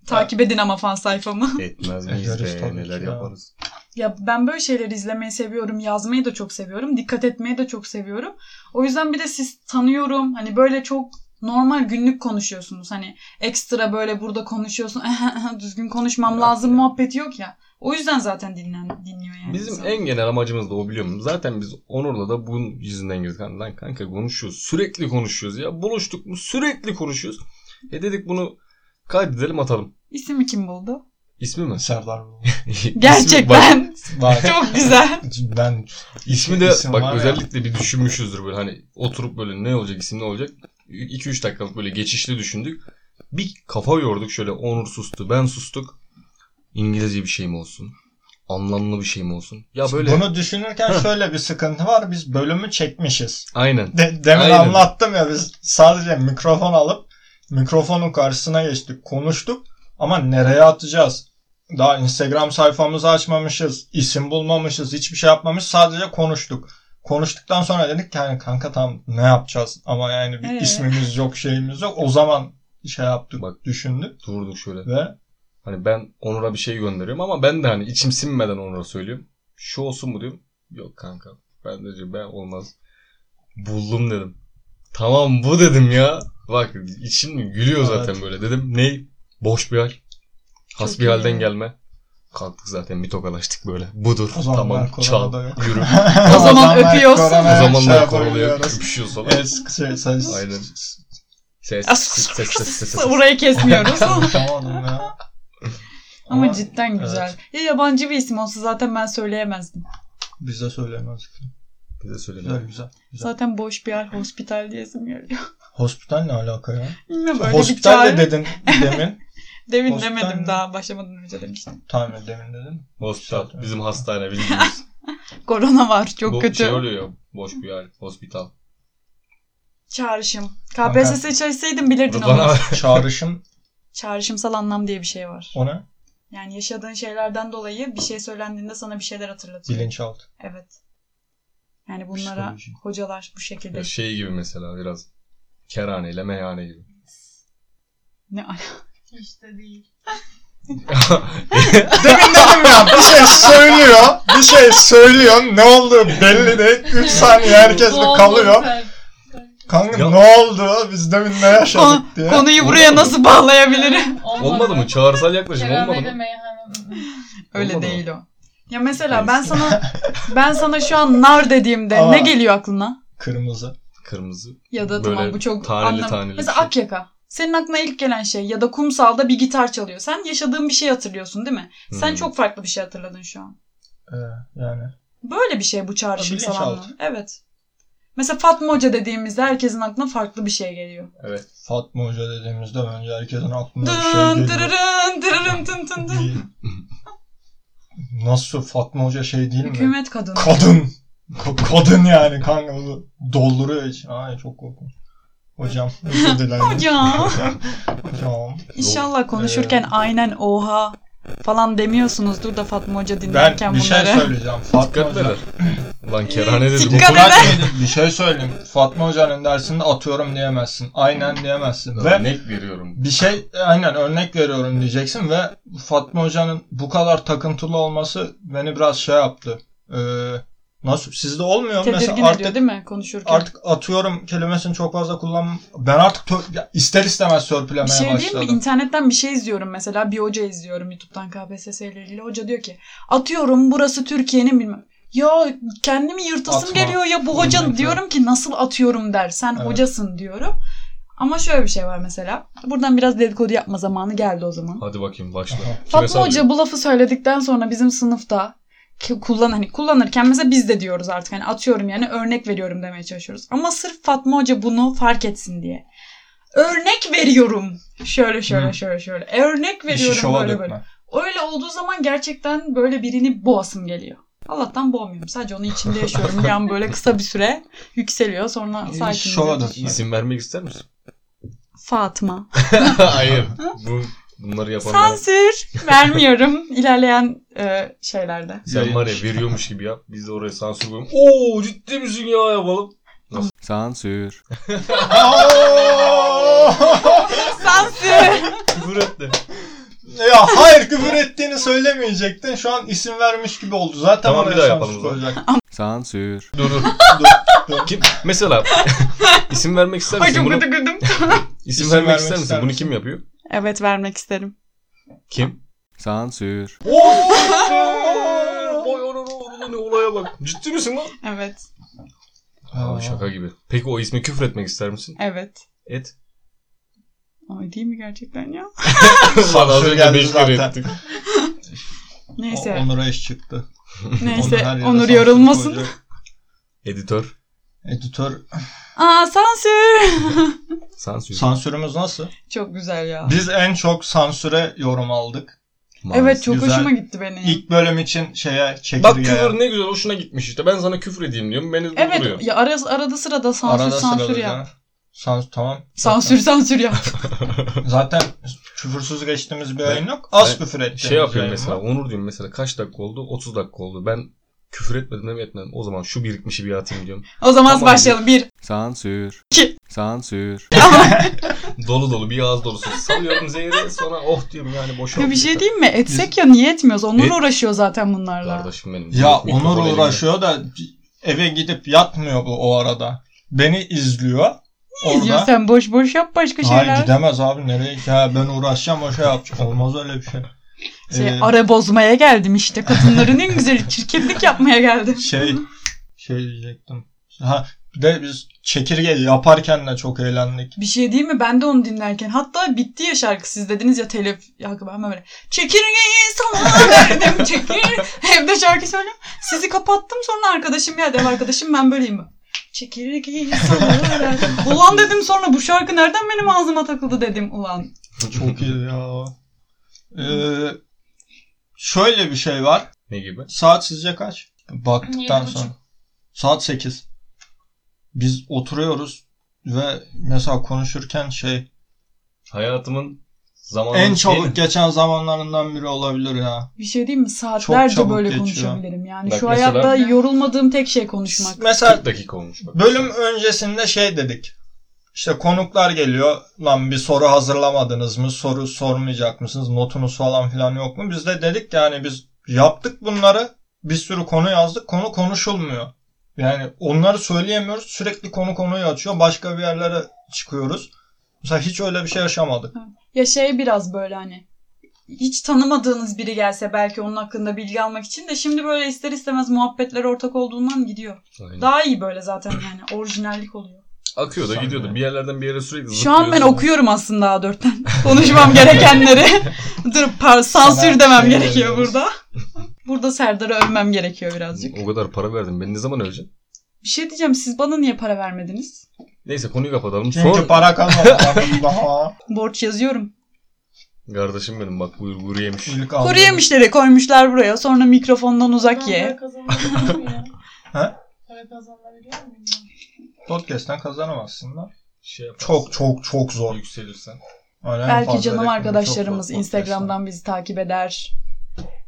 S2: Takip edin ama fan sayfamı.
S4: Etmez
S3: Ederiz
S4: miyiz be
S3: tabii
S4: neler
S3: ki ya.
S4: yaparız.
S2: ya ben böyle şeyleri izlemeyi seviyorum. Yazmayı da çok seviyorum. Dikkat etmeyi de çok seviyorum. O yüzden bir de siz tanıyorum. Hani böyle çok normal günlük konuşuyorsunuz. Hani ekstra böyle burada konuşuyorsun. Düzgün konuşmam
S4: Yok
S2: lazım
S4: ya.
S2: muhabbeti yok ya. O yüzden zaten dinlen, dinliyor yani.
S4: Bizim
S2: insan.
S4: en genel amacımız da o biliyor musun? Zaten biz Onur'la da bunun yüzünden girdik. Hani Lan kanka konuşuyoruz. Sürekli konuşuyoruz ya. Buluştuk mu sürekli konuşuyoruz. E dedik bunu kaydedelim atalım.
S2: İsmi kim buldu?
S4: İsmi mi?
S3: Serdar bu.
S4: İsmi- bak,
S2: Gerçekten
S3: Bak,
S2: çok güzel.
S3: ben
S4: ismi de
S3: İsim var
S4: bak
S3: ya.
S4: özellikle bir düşünmüşüzdür böyle hani oturup böyle ne olacak isim ne olacak 2-3 dakikalık böyle geçişli düşündük. Bir kafa yorduk şöyle Onur sustu ben sustuk. İngilizce bir şey mi olsun? Anlamlı bir şey mi olsun? Ya böyle
S3: bunu düşünürken şöyle bir sıkıntı var. Biz bölümü çekmişiz.
S4: aynen.
S3: De, demin
S4: Aynen.
S3: anlattım ya biz sadece mikrofon alıp mikrofonun karşısına geçtik konuştuk ama nereye atacağız? Daha Instagram sayfamızı açmamışız, isim bulmamışız, hiçbir şey yapmamış sadece konuştuk. Konuştuktan sonra dedik ki yani kanka tam ne yapacağız ama yani bir
S2: Ee?
S3: ismimiz yok şeyimiz yok. O zaman şey yaptık
S4: Bak.
S3: düşündük
S4: Durduk şöyle.
S3: ve
S4: Hani ben Onur'a bir şey gönderiyorum ama ben de hani içim sinmeden Onur'a söylüyorum. Şu olsun mu diyorum. Yok kanka. Ben de diyorum ben olmaz. Buldum dedim. Tamam bu dedim ya. Bak içim gülüyor zaten böyle dedim. Ney? Boş bir hal. Has bir
S2: iyi.
S4: halden gelme. Kalktık zaten bir tokalaştık böyle. Budur.
S3: O zamanlar
S4: Tamam
S3: korona
S4: çal.
S3: da yok.
S4: Yürü.
S2: O zaman
S3: zamanlar
S2: öpüyorsun.
S3: korona
S4: O
S3: şey
S4: zamanlar koruluyor.
S3: yapabiliyoruz.
S4: Öpüşüyoruz falan.
S3: Evet, şey, ses-
S4: Aynen. Ses ses ses ses ses.
S2: Burayı kesmiyoruz.
S3: Tamam ya.
S2: Ama cidden güzel.
S3: evet.
S2: Ya yabancı bir isim olsa zaten ben söyleyemezdim.
S3: Bize söylemez.
S4: Bize söyleme.
S3: Güzel güzel. güzel.
S2: Zaten boş bir yer hospital diyesim geliyor.
S3: Hospital ne alaka ya?
S2: Bilmem öyle bir
S3: Hospital
S2: çağrı.
S3: de dedin demin.
S2: Demin
S3: hospital
S2: demedim
S3: mi?
S2: daha başlamadan önce demiştim.
S3: Tamam ya, demin dedin.
S4: Hospital. Bizim hastane bildiğimiz.
S2: Korona var çok
S4: Bu
S2: kötü.
S4: şey oluyor ya, boş bir yer, hospital.
S2: Çağrışım. KPSS çalışsaydın bilirdin
S4: Rıdvan
S2: onu.
S4: abi.
S3: Çağrışım
S2: Çağrışımsal anlam diye bir şey var.
S3: o ne?
S2: Yani yaşadığın şeylerden dolayı bir şey söylendiğinde sana bir şeyler hatırlatıyor.
S3: Bilinçaltı.
S2: Evet. Yani bunlara
S3: Psikoloji.
S2: hocalar bu şekilde.
S4: Ya şey gibi mesela biraz. Kerhane ile meyhane gibi.
S2: Ne
S1: Hiç de değil.
S3: Demin dedim ya bir şey söylüyor. Bir şey söylüyor. Ne oldu belli değil. 3 saniye herkes de
S1: Doğru,
S3: kalıyor.
S1: süper.
S3: Kanka
S4: Ya-
S3: ne oldu? Biz demin ne yaşadık diye.
S2: Konuyu buraya nasıl bağlayabilirim?
S1: Olmadı.
S4: Olmadı mı? Çağrısal yaklaşım
S1: Kerem
S4: olmadı
S1: Bey de
S4: mı?
S1: meyhane.
S2: Öyle
S4: Olmadı mı?
S2: değil o. Ya mesela ben sana ben sana şu an nar dediğimde
S3: Aa.
S2: ne geliyor aklına?
S3: Kırmızı.
S4: Kırmızı.
S2: Ya da
S4: Böyle
S2: tamam bu çok
S4: taneli
S2: anlam-
S4: taneli
S2: Mesela
S4: bir şey.
S2: Akyaka. Senin aklına ilk gelen şey ya da kumsalda bir gitar çalıyor. Sen yaşadığın bir şey hatırlıyorsun değil mi? Sen
S4: Hmm.
S2: çok farklı bir şey hatırladın şu an.
S3: Ee, yani.
S2: Böyle bir şey bu çağrışım
S3: Bilinçaltı.
S2: falan. Evet. Mesela Fatma Hoca dediğimizde herkesin aklına farklı bir şey geliyor.
S4: Evet.
S3: Fatma Hoca dediğimizde bence herkesin aklında bir şey
S2: Dın
S3: geliyor.
S2: dırırın dırırın tın tın tın.
S3: Bir- Nasıl Fatma Hoca şey değil mi?
S2: Hükümet kadını.
S3: Kadın. Ko- kadın yani kanka bunu dolduruyor için. Ay çok korkunç. Hocam özür dilerim.
S2: Hocam.
S3: Hocam.
S2: İnşallah konuşurken
S3: Ee,
S2: aynen oha falan demiyorsunuzdur da Fatma Hoca
S3: Ben
S2: dinlerken
S3: bir şey
S2: bunları.
S3: söyleyeceğim. Fatma
S4: Dikkat
S3: Hoca.
S4: eder. Lan kerane dedi.
S2: Dikkat
S4: bu.
S2: eder.
S3: Bırak bir- bir şey söyleyeyim. Fatma Hoca'nın dersinde atıyorum diyemezsin. Aynen diyemezsin. Ve
S4: Örnek veriyorum.
S3: bir şey aynen örnek veriyorum diyeceksin ve Fatma Hoca'nın bu kadar takıntılı olması beni biraz şey yaptı. Ee, nasıl sizde olmuyor mu?
S2: Tedirgin
S3: Mesela artık
S2: ediyor değil mi konuşurken?
S3: artık atıyorum kelimesini çok fazla kullan. Ben artık tö- ya ister istemez sörpülemeye
S2: bir şey diyeyim mi?
S3: başladım.
S2: İnternetten bir şey izliyorum mesela. Bir hoca izliyorum YouTube'dan KPSS ile ilgili. Hoca diyor ki atıyorum burası Türkiye'nin bilmem. Ya kendimi yırtasım
S3: Atma.
S2: geliyor ya bu hoca
S3: Kesinlikle.
S2: diyorum ki nasıl atıyorum der. Sen
S3: Evet.
S2: hocasın diyorum. Ama şöyle bir şey var mesela. Buradan biraz dedikodu yapma zamanı geldi o zaman.
S4: Hadi bakayım başla.
S3: Aha.
S4: Kime
S2: Fatma
S4: sallıyor?
S2: Hoca bu lafı söyledikten sonra bizim sınıfta ki kullan hani kullanırken mesela biz de diyoruz artık hani atıyorum yani örnek veriyorum demeye çalışıyoruz. Ama sırf Fatma Hoca bunu fark etsin diye. Örnek veriyorum. Şöyle şöyle
S3: Hı.
S2: şöyle şöyle. Örnek
S3: İşi
S2: veriyorum
S3: şova
S2: böyle böyle.
S3: dökme.
S2: Öyle olduğu zaman gerçekten böyle birini boğasım geliyor. Allah'tan boğmuyorum. Sadece onu içimde yaşıyorum. Bir an böyle kısa bir süre yükseliyor. Sonra
S3: İşi şova
S2: sakinliyor.
S3: dökme.
S4: İsim vermek ister misin?
S2: Fatma.
S4: Hayır. Bu bunları yapanlar.
S2: Sansür vermiyorum. İlerleyen e, şeylerde.
S4: Sen var ya veriyormuş gibi yap. Biz de oraya sansür koyalım. Oo ciddi misin ya yapalım.
S5: Sansür.
S2: Sansür.
S4: Küfür etti.
S3: ya hayır küfür ettiğini söylemeyecektin. Şu an isim vermiş gibi oldu. Zaten
S4: Tamam, bir
S3: oraya
S4: daha
S3: sansür
S4: yapalım o zaman.
S3: koyacak.
S5: Sansür.
S4: Dur dur.
S3: Dur, dur.
S4: Kim? Mesela isim vermek ister
S2: Ay
S4: misin?
S2: çok
S4: Bunu,
S2: gıdı gıdım.
S4: isim vermek ister misin? Bunu kim yapıyor?
S2: Evet vermek isterim.
S4: Kim?
S5: Sansür.
S4: Vay anana orada ne olaya bak. Ciddi misin lan?
S2: Evet.
S4: Aa, şaka gibi. Peki o isme küfür etmek ister misin?
S2: Evet.
S4: Et.
S2: Ay değil mi gerçekten ya?
S4: Lan az önce
S3: geldi
S4: 5 kere
S3: zaten.
S4: ettik.
S2: Neyse.
S3: O- Onur'a iş çıktı. Onur
S2: neyse.
S3: her yere
S2: Onur
S3: sansür
S2: yorulmasın.
S3: koyacak.
S4: Editör.
S3: Editör
S2: Aa sansür.
S4: Sansür.
S3: sansürümüz nasıl?
S2: çok güzel ya.
S3: Biz en çok sansüre yorum aldık.
S4: Maalesef.
S2: Evet çok
S3: Güzel.
S2: hoşuma gitti benim.
S3: İlk bölüm için şeye
S4: Bak
S3: çekirgeye.
S4: küfür ne güzel hoşuna gitmiş işte. Ben sana küfür edeyim diyorum. Beni durduruyor.
S2: Evet ya ara, arada sırada sansür
S3: Arada
S2: sansür
S3: sırada
S2: ya.
S3: canım. Sans tamam.
S2: Sansür sansür ya.
S3: Zaten küfürsüz geçtiğimiz bir
S4: Ben-
S3: oyun yok. Az
S4: ben
S3: küfür ettiğimiz
S4: Şey yapıyorum
S3: yayın
S4: mesela.
S3: var.
S4: Onur diyorum mesela kaç dakika oldu? 30 dakika oldu. Ben küfür etmedim mi etmedim. O zaman şu birikmişi bir atayım diyorum.
S2: O zaman
S4: Tamam.
S2: başlayalım. Bir.
S5: Sansür.
S2: İki.
S5: Sansür.
S4: Dolu dolu bir ağız dolusu salıyorum zehri. Sonra oh diyorum yani boş
S2: Ya bir şey diyeyim mi? Etsek
S4: Biz-
S2: ya niye etmiyoruz? Onur
S4: Et-
S3: E-
S2: uğraşıyor zaten bunlarla.
S4: Kardeşim benim.
S3: Ya
S4: Yok, mikrofon
S3: Onur
S4: elimde.
S3: uğraşıyor da eve gidip yatmıyor bu o arada. Beni izliyor.
S2: Ne izliyorsun sen boş boş yap başka
S3: Hayır
S2: şeyler.
S3: gidemez abi nereye? Ya ben uğraşacağım o şey yapacak. Olmaz öyle bir şey.
S2: Şey,
S3: Ee,
S2: ara bozmaya geldim işte. Kadınların en güzeli çirkinlik yapmaya geldim.
S3: şey şey diyecektim. Ha bir de biz çekirge yaparken de çok eğlendik.
S2: Bir şey değil mi? Ben de onu dinlerken. Hatta bitti ya şarkı. Siz dediniz ya telif. Ya ben böyle. Çekirgeyi sana verdim. Çekir. Evde şarkı söylüyorum. Sizi kapattım sonra arkadaşım geldi. Ev arkadaşım ben böyleyim mi? Çekirgeyi sana verdim. Ulan dedim sonra bu şarkı nereden benim ağzıma takıldı dedim ulan.
S3: Çok iyi ya. Ee, şöyle bir şey var.
S4: Ne gibi?
S3: Saat sizce kaç? Baktıktan
S1: Yedi buçuk.
S3: sonra. Saat 8. Biz oturuyoruz ve mesela konuşurken şey
S4: Hayatımın zamanı
S3: en çabuk geçen zamanlarından biri olabilir ya.
S2: Bir şey diyeyim mi? Saatlerce
S3: çabuk
S2: böyle
S3: geçiyor.
S2: konuşabilirim. Yani
S4: Bak
S2: şu
S4: mesela-
S2: hayatta yorulmadığım tek şey konuşmak.
S3: Mesela
S4: 40 dakika olmuş. Bak.
S3: bölüm öncesinde şey dedik. İşte konuklar geliyor. Lan bir soru hazırlamadınız mı? Soru sormayacak mısınız? Notunuz falan filan yok mu? Biz de dedik ki yani biz yaptık bunları. Bir sürü konu yazdık. Konu konuşulmuyor. Yani onları söyleyemiyoruz. Sürekli konu konuyu açıyor. Başka bir yerlere çıkıyoruz. Mesela hiç öyle bir şey yaşamadık.
S2: Ya şey biraz böyle hani hiç tanımadığınız biri gelse belki onun hakkında bilgi almak için de şimdi böyle ister istemez muhabbetlere ortak olduğundan gidiyor.
S4: Aynen.
S2: Daha iyi böyle zaten yani orijinallik oluyor.
S4: Akıyor da
S3: Sen
S4: gidiyordu.
S3: de.
S4: Bir yerlerden bir yere sürekli
S2: Şu an ben
S4: zıplıyorsun.
S2: okuyorum aslında A4'ten. Konuşmam gerekenleri. Dur par- sansür
S3: Sana
S2: demem
S3: şey
S2: gerekiyor
S3: veriyoruz.
S2: burada. burada Serdar'ı övmem gerekiyor birazcık.
S4: O kadar para verdim. Ben ne zaman öleceğim?
S2: Bir şey diyeceğim siz bana niye para vermediniz?
S4: Neyse konuyu kapatalım.
S3: Çünkü
S4: Son
S3: para kazandık. Daha
S2: Borç yazıyorum.
S4: kardeşim benim bak buyur kuru yemiş.
S3: iyilik
S2: Kuru
S3: aldık.
S2: yemişleri koymuşlar buraya. Sonra mikrofondan uzak ye.
S1: Para kazanabiliyor muyum ya?
S3: Ha?
S1: Para kazanabiliyor muyum ya?
S3: Podcast'ten kazanamazsın da.
S4: Şey yaparsın.
S3: Çok çok çok zor.
S4: Yükselirsen.
S3: Aynen,
S2: Belki
S3: fazla
S2: canım
S3: reklamı çok
S2: arkadaşlarımız
S3: zor podcast'ten.
S2: Instagram'dan bizi takip eder.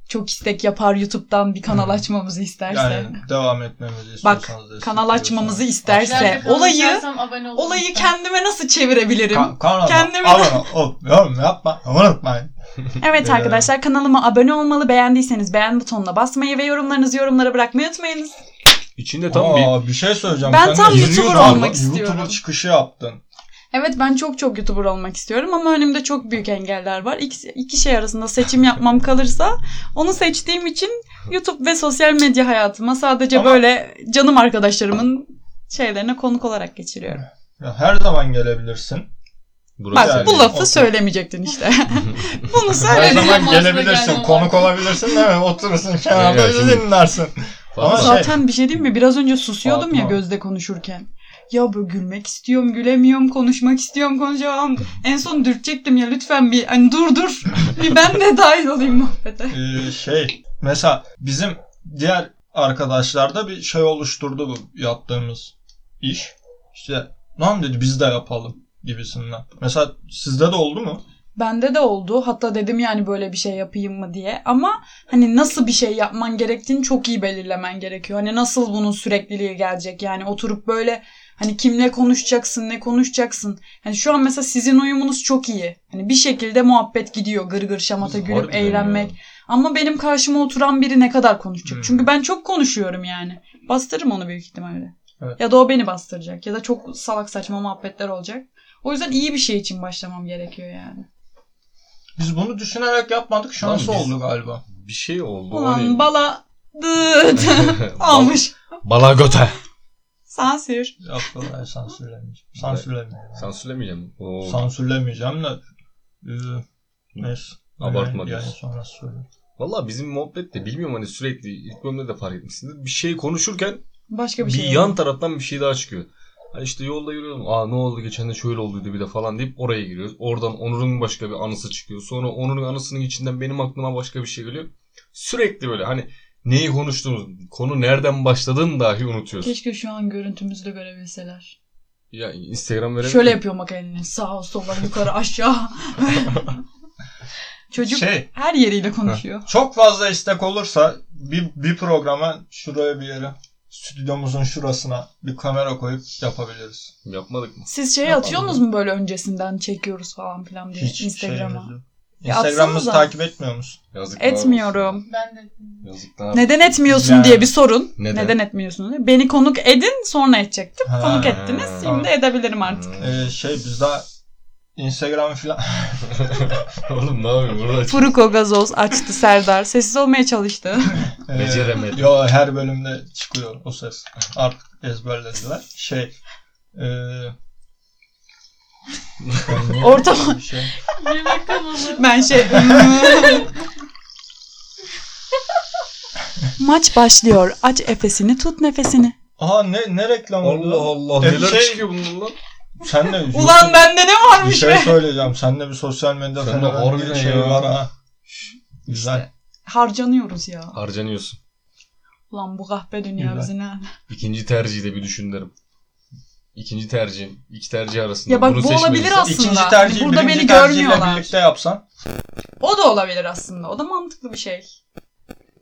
S2: Çok istek yapar YouTube'dan bir kanal
S3: Hmm.
S2: açmamızı isterse.
S3: Yani devam etmemizi
S2: Bak,
S3: istiyorsanız destek
S2: kanal açmamızı
S3: veriyorsanız-
S2: isterse-
S1: Güzel bir kanal
S2: olayı-
S1: açarsam abone olurum.
S2: Olayı kendime nasıl çevirebilirim?
S3: Ka- kanala
S2: Kendimi-
S3: abone ol. Oğlum yapma. Unutmayın.
S2: evet
S3: Ee,
S2: arkadaşlar kanalıma abone olmalı. Beğendiyseniz beğen butonuna basmayı ve yorumlarınızı yorumlara bırakmayı unutmayınız.
S4: İçinde tam
S3: Tamam,
S4: bir
S3: Aa, bir şey söyleyeceğim.
S2: E, Ben
S3: Sen
S2: tam
S3: de
S2: YouTuber
S3: YouTube'da
S2: olmak istiyorum.
S3: YouTuber çıkışı yaptın.
S2: Evet ben çok çok YouTuber olmak istiyorum ama önümde çok büyük engeller var. İki, iki şey arasında seçim yapmam kalırsa onu seçtiğim için YouTube ve sosyal medya hayatıma sadece
S3: Ama-
S2: böyle canım arkadaşlarımın şeylerine konuk olarak geçiriyorum.
S3: Ya, her zaman gelebilirsin.
S2: Bak
S4: burası.
S3: Yani,
S2: bu lafı
S3: otur.
S2: söylemeyecektin işte. Bunu
S3: Her
S1: Öyle
S2: söyledim.
S3: zaman
S1: bir masada
S3: gelebilirsin.
S1: gelmem
S3: Konuk
S1: var.
S3: olabilirsin değil mi? Oturursun
S4: Ya,
S3: kenarda
S4: şimdi-
S3: dinlersin.
S4: Fazla.
S3: Ama şey-
S2: Zaten bir şey diyeyim mi? Biraz önce susuyordum ya
S3: Fatma.
S2: gözde konuşurken. Ya böyle gülmek istiyorum, gülemiyorum, konuşmak istiyorum, konuşamam. En son dürtecektim ya lütfen bir hani dur dur. Bir ben de dahil olayım muhabbete.
S3: Ee, şey mesela bizim diğer arkadaşlarda bir şey oluşturdu bu yaptığımız iş. İşte lan dedi biz de yapalım gibisinden. Mesela sizde de oldu mu?
S2: Bende de oldu. Hatta dedim yani böyle bir şey yapayım mı diye. Ama hani nasıl bir şey yapman gerektiğini çok iyi belirlemen gerekiyor. Hani nasıl bunun sürekliliği gelecek? Yani oturup böyle hani kimle konuşacaksın, ne konuşacaksın? Hani şu an mesela sizin uyumunuz çok iyi. Hani bir şekilde muhabbet gidiyor. Gırgır şamata gülüp
S4: Harbiden
S2: eğlenmek.
S4: ya.
S2: Ama benim karşıma oturan biri ne kadar konuşacak?
S3: Hmm.
S2: Çünkü ben çok konuşuyorum yani. Bastırırım onu büyük ihtimalle.
S3: Evet.
S2: Ya da o beni bastıracak. Ya da çok salak saçma muhabbetler olacak. O yüzden iyi bir şey için başlamam gerekiyor yani.
S3: Biz bunu düşünerek yapmadık. Şansı
S4: Lan biz-
S3: oldu galiba.
S4: Bir şey oldu.
S2: Ulan
S4: hani-
S2: bala dıt
S4: Bal-
S2: almış.
S4: Bala göte.
S2: Sansür.
S3: Yaptılar sansürlemeyeceğim. Sansürlemeyeceğim.
S4: Sansürlemeyeceğim. Oo.
S3: Sansürlemeyeceğim de. Ee, neyse.
S4: Abartma
S3: Yani-
S4: diyorsun.
S3: Yani sonrası söyleyeyim.
S4: Valla bizim muhabbette bilmiyorum hani sürekli ilk bölümde de fark etmişsindir. Bir şey konuşurken
S2: Başka
S4: bir,
S2: bir şey.
S4: yan
S2: yok.
S4: taraftan bir şey daha çıkıyor. Hani işte yolda yürüyorum. Aa ne oldu geçen de şöyle olduydu bir de falan deyip oraya giriyoruz. Oradan Onur'un başka bir anısı çıkıyor. Sonra Onur'un anısının içinden benim aklıma başka bir şey geliyor. Sürekli böyle hani neyi konuştuğumuz, konu nereden başladığını dahi unutuyoruz.
S2: Keşke şu an görüntümüzü de görebilseler.
S4: Ya Instagram verelim.
S2: Şöyle
S4: mi?
S2: yapıyor bak elini. Sağa sola yukarı aşağı. Çocuk
S3: Şey.
S2: her yeriyle konuşuyor.
S3: Çok fazla istek olursa bir, bir programa şuraya bir yere stüdyomuzun şurasına bir kamera koyup yapabiliriz.
S4: Yapmadık mı?
S2: Siz şey
S3: Yapalım.
S2: atıyorsunuz mu böyle öncesinden çekiyoruz falan filan diye
S3: Hiç
S2: Instagram'a?
S3: şeyimiz yok.
S2: Ya atsanıza.
S3: Instagram'ımızı takip etmiyor musun?
S4: Yazıklar olsun.
S2: Etmiyorum.
S1: Ben de
S4: Yazıklar.
S2: Neden etmiyorsun
S3: Yani.
S2: diye bir sorun.
S4: Neden?
S2: Neden, etmiyorsun diye. Beni konuk edin sonra edecektim.
S3: Ha.
S2: Konuk ettiniz. Şimdi edebilirim artık.
S4: Hmm.
S3: Ee, şey biz daha Instagram falan
S4: Oğlum ne yapayım? Burada
S2: Furuko gazoz açtı Serdar. Sessiz olmaya çalıştı.
S3: Ee,
S4: Beceremedim.
S3: Yo her bölümde çıkıyor o ses. Artık ezberlediler. Şey e, ben niye-
S2: Ortam-
S3: bir şey.
S1: bir bakalım.
S2: Ben şey... Maç başlıyor. Aç efesini tut nefesini.
S3: Aha ne, ne reklam
S4: Allah
S3: oldu?
S4: Allah.
S3: E,
S4: Neler
S3: şey-
S4: çıkıyor bunun lan?
S3: Sen de
S2: Ulan bende ne
S3: Bir
S2: varmış
S3: şey
S2: be?
S3: söyleyeceğim. Sende bir sosyal medya
S4: Sende harbiden
S3: fenomeni şey
S4: ya.
S3: var ha. Güzel.
S2: Harcanıyoruz ya.
S4: Harcanıyorsun.
S2: Ulan bu kahpe dünya
S3: Güzel.
S2: bizi ne?
S4: İkinci tercihi de bir düşün derim. İkinci tercihim. iki tercih arasında.
S2: Ya bak
S4: Bunu
S2: bu olabilir
S4: seçmelisin.
S2: aslında.
S3: İkinci tercihi
S2: Burada
S3: birinci
S2: beni
S3: tercihle
S2: görmüyorlar.
S3: birlikte yapsan
S2: O da olabilir aslında. O da mantıklı bir şey.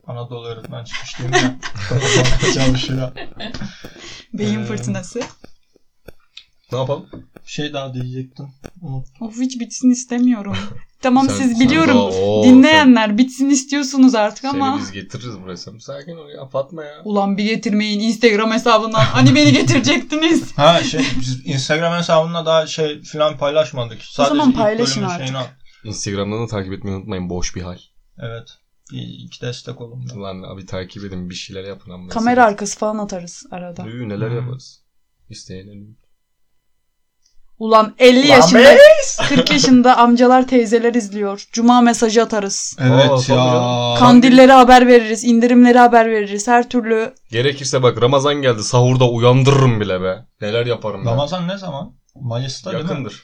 S3: Anadolu öğretmen çıkışlıyım ya. Kafamda çalışıyor.
S2: Beyin
S3: Ee,
S2: fırtınası.
S4: Ne yapalım?
S3: Bir şey daha diyecektim. Unuttum.
S2: Of hiç bitsin istemiyorum. Tamam
S4: Sen-
S2: siz
S4: sen daha-
S2: biliyorum.
S4: Oo,
S2: Dinleyenler bitsin istiyorsunuz artık
S4: sen-
S2: ama.
S4: Seni biz getiririz buraya. Sen sakin ol ya. Fatma ya.
S2: Ulan bir getirmeyin Instagram hesabından. Hani beni getirecektiniz.
S3: Ha şey biz Instagram hesabında daha şey filan paylaşmadık. Sadece
S2: zaman
S3: ilk
S2: paylaşın
S3: bölümün
S2: artık.
S3: şeyini at-
S4: Instagram'dan da takip etmeyi unutmayın. Boş bir hal.
S3: Evet. İyi, İki destek olun.
S4: Lan abi takip edin. Bir şeyler yapın. Ama
S2: Kamera arkası falan atarız arada.
S4: Üy, neler
S3: Hmm.
S4: yaparız. İsteyelim.
S2: Ulan 50
S3: Lan
S2: yaşında 40 yaşında amcalar teyzeler izliyor. Cuma mesajı atarız.
S3: Evet
S4: Aa, tabii
S3: ya.
S4: canım.
S2: Kandillere haber veririz, indirimlere haber veririz. Her türlü
S4: Gerekirse bak Ramazan geldi. Sahurda uyandırırım bile be. Neler yaparım ben.
S3: Ramazan ne zaman? Mayıs'ta değil mi?
S4: Yakındır.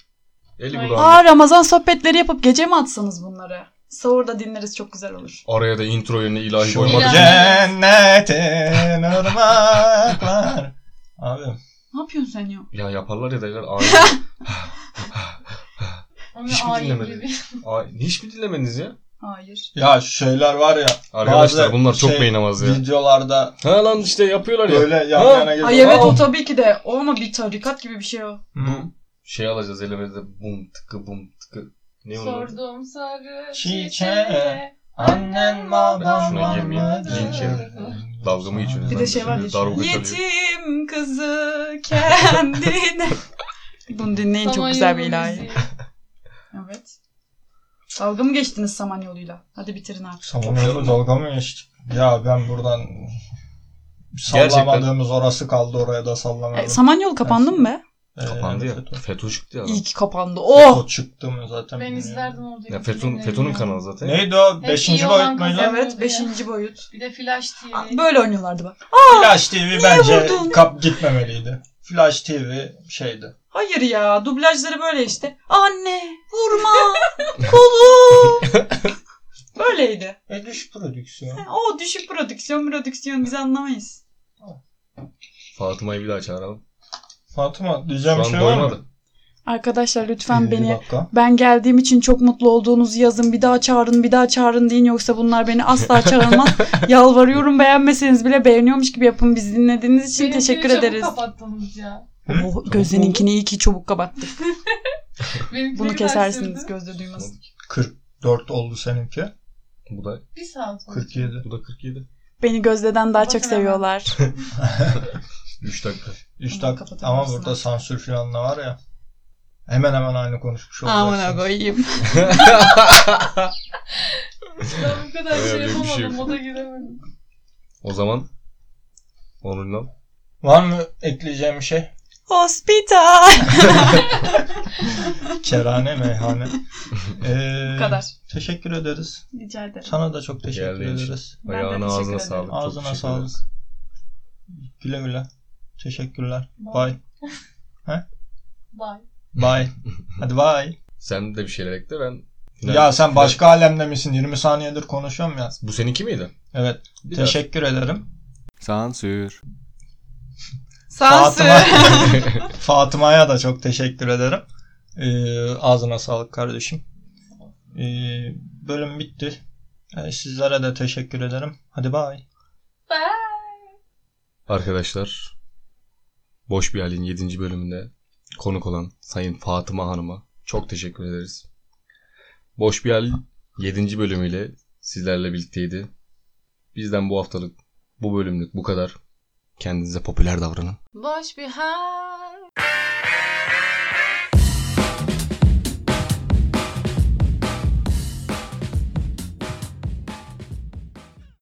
S4: Eli
S1: Ay.
S4: kulağında.
S2: Aa Ramazan sohbetleri yapıp gece mi atsanız bunları? Sahurda dinleriz çok güzel olur.
S4: Araya da intro yerine ilahi
S3: Şu
S4: koymak
S1: İlahi.
S4: için.
S3: cennetin ırmaklar. Abi
S2: Ne yapıyorsun sen ya?
S4: Ya yaparlar ya derler. Ay,
S1: Onu
S4: Hiç mi
S1: ayin
S4: dinlemedin?
S1: gibi.
S4: ay, hiç mi dinlemediniz ya?
S2: Hayır.
S3: ya şu şeyler var ya.
S4: Arkadaşlar
S3: bazı
S4: bunlar çok
S3: şey,
S4: beğenemez ya.
S3: Videolarda
S4: Ha lan işte yapıyorlar ya.
S3: böyle yan
S4: Ha.
S3: yana geliyor.
S2: Ay evet
S3: Aa.
S2: o tabii ki de. O ama bir tarikat gibi bir şey o.
S3: Hı.
S4: Şey alacağız elemede bum tıkı bum tıkı. Ne onun adı?
S1: Sordum sarı
S3: Çiçeğe, e.
S1: çiçeğe.
S3: Annen babam
S4: Şuna girmeyeyim,
S3: anladı.
S4: linç yerim. Dalga mı geçiyorsunuz?
S2: Bir de
S4: Ben
S2: şey var
S4: şimdi
S2: ya.
S4: darbuka çalıyor.
S2: Yetim kızı kendine. Bunu dinleyin çok güzel bir
S1: Samanyolu
S2: ilahi.
S1: müziği.
S2: Evet. Dalga mı geçtiniz Samanyolu'yla? Hadi bitirin artık.
S3: Samanyolu dalga mı geçtik? Ya ben buradan
S4: Gerçekten.
S3: sallamadığımız orası kaldı oraya da sallamadım.
S2: E, Samanyolu kapandı mı be?
S3: Ee,
S4: Kapandı ya.
S3: FETÖ.
S4: FETÖ çıktı ya.
S2: İyi ki kapandı.
S3: O
S2: Oh!
S3: çıktı mı zaten?
S1: Ben
S3: bilmiyorum.
S1: izlerdim orada.
S4: Ya
S1: hiç
S4: FETÖ'nün
S1: dinlemedim
S4: FETÖ'nün
S1: ya.
S4: kanalı zaten.
S3: Neydi o?
S1: Hep iyi
S3: Beşinci
S1: olan
S3: boyut muydu?
S1: kızlar.
S2: Evet 5. boyut.
S1: Bir de Flash TV.
S2: Aa, Böyle oynuyorlardı bak.
S3: Flash TV bence
S2: vurdun?
S3: kap gitmemeliydi. Flash TV şeydi.
S2: Hayır ya dublajları böyle işte. Anne vurma kolu. Böyleydi.
S3: E düş prodüksiyon.
S2: O düşük prodüksiyon prodüksiyon biz anlamayız.
S4: Fatıma'yı bir daha çağıralım.
S3: Fatıma
S4: Şu
S3: diyeceğim bir
S4: an
S3: şey var mı?
S4: doymadı.
S2: Arkadaşlar lütfen
S3: 50
S2: beni
S3: dakika.
S2: ben geldiğim için çok mutlu olduğunuzu yazın. Bir daha çağırın, bir daha çağırın deyin. Yoksa bunlar beni asla çağırmaz. Yalvarıyorum beğenmeseniz bile beğeniyormuş gibi yapın. Biz dinlediğiniz için
S1: Benimkini
S2: teşekkür
S1: çabuk
S2: ederiz.
S1: kapattınız ya.
S2: Oh, Gözde'ninkini iyi ki çabuk kapattık.
S1: Benimkini
S2: Bunu
S1: ben
S2: kesersiniz
S1: sürdüm.
S2: Gözde duymasın.
S3: 44 oldu seninki.
S4: Bu da
S1: Bir saat oldu.
S3: 47.
S4: bu da 47.
S2: Beni Gözde'den daha çok
S1: Kapatın hemen.
S2: seviyorlar.
S4: 3 dakika.
S3: 3
S2: Tamam,
S3: dakika. Ama
S2: kapatabilirsin
S3: burada
S2: artık.
S3: sansür falan da var ya. Hemen hemen aynı konuşmuş olacaksınız.
S2: Aman koyayım.
S1: Ben bu kadar
S4: Öyle
S1: şey
S4: bir şey
S1: yapamadım.
S4: yok.
S1: Moda giremedim.
S4: O zaman onunla
S3: Var mı ekleyeceğim bir şey?
S2: Hospital.
S3: Kerane, meyhane. Ee,
S2: Bu kadar.
S3: Teşekkür ederiz.
S2: Rica ederim.
S3: Sana da çok teşekkür
S4: Geldiğin için.
S3: ederiz.
S2: Ben de
S4: ayağına
S2: teşekkür
S4: ağzına
S2: ederim.
S4: sağlık. Çok
S3: Ağzına
S4: teşekkür
S3: sağlık.
S4: ederiz.
S3: Güle güle. Teşekkürler.
S1: Bye.
S3: Bye.
S1: Bye.
S3: Bye. Hadi bye.
S4: Sen de bir şeyler ekle ben.
S3: Ya sen başka alemde misin? 20 saniyedir konuşuyorum ya.
S4: Bu seninki miydi?
S3: Evet.
S4: Bir
S3: Teşekkür ederim.
S5: Sansür.
S2: Sansür.
S4: daha.
S3: Fatıma'ya da çok teşekkür ederim. Ee, ağzına sağlık kardeşim. Ee, bölüm bitti. Ee, sizlere de teşekkür ederim. Hadi bye.
S1: Bye.
S4: Arkadaşlar Boş Bir Halin 7. bölümünde konuk olan Sayın Fatıma Hanım'a çok teşekkür ederiz. Boş Bir Hal 7. bölümüyle sizlerle birlikteydi. Bizden bu haftalık bu bölümlük bu kadar. Kendinize popüler davranın.
S1: Boş bir hal.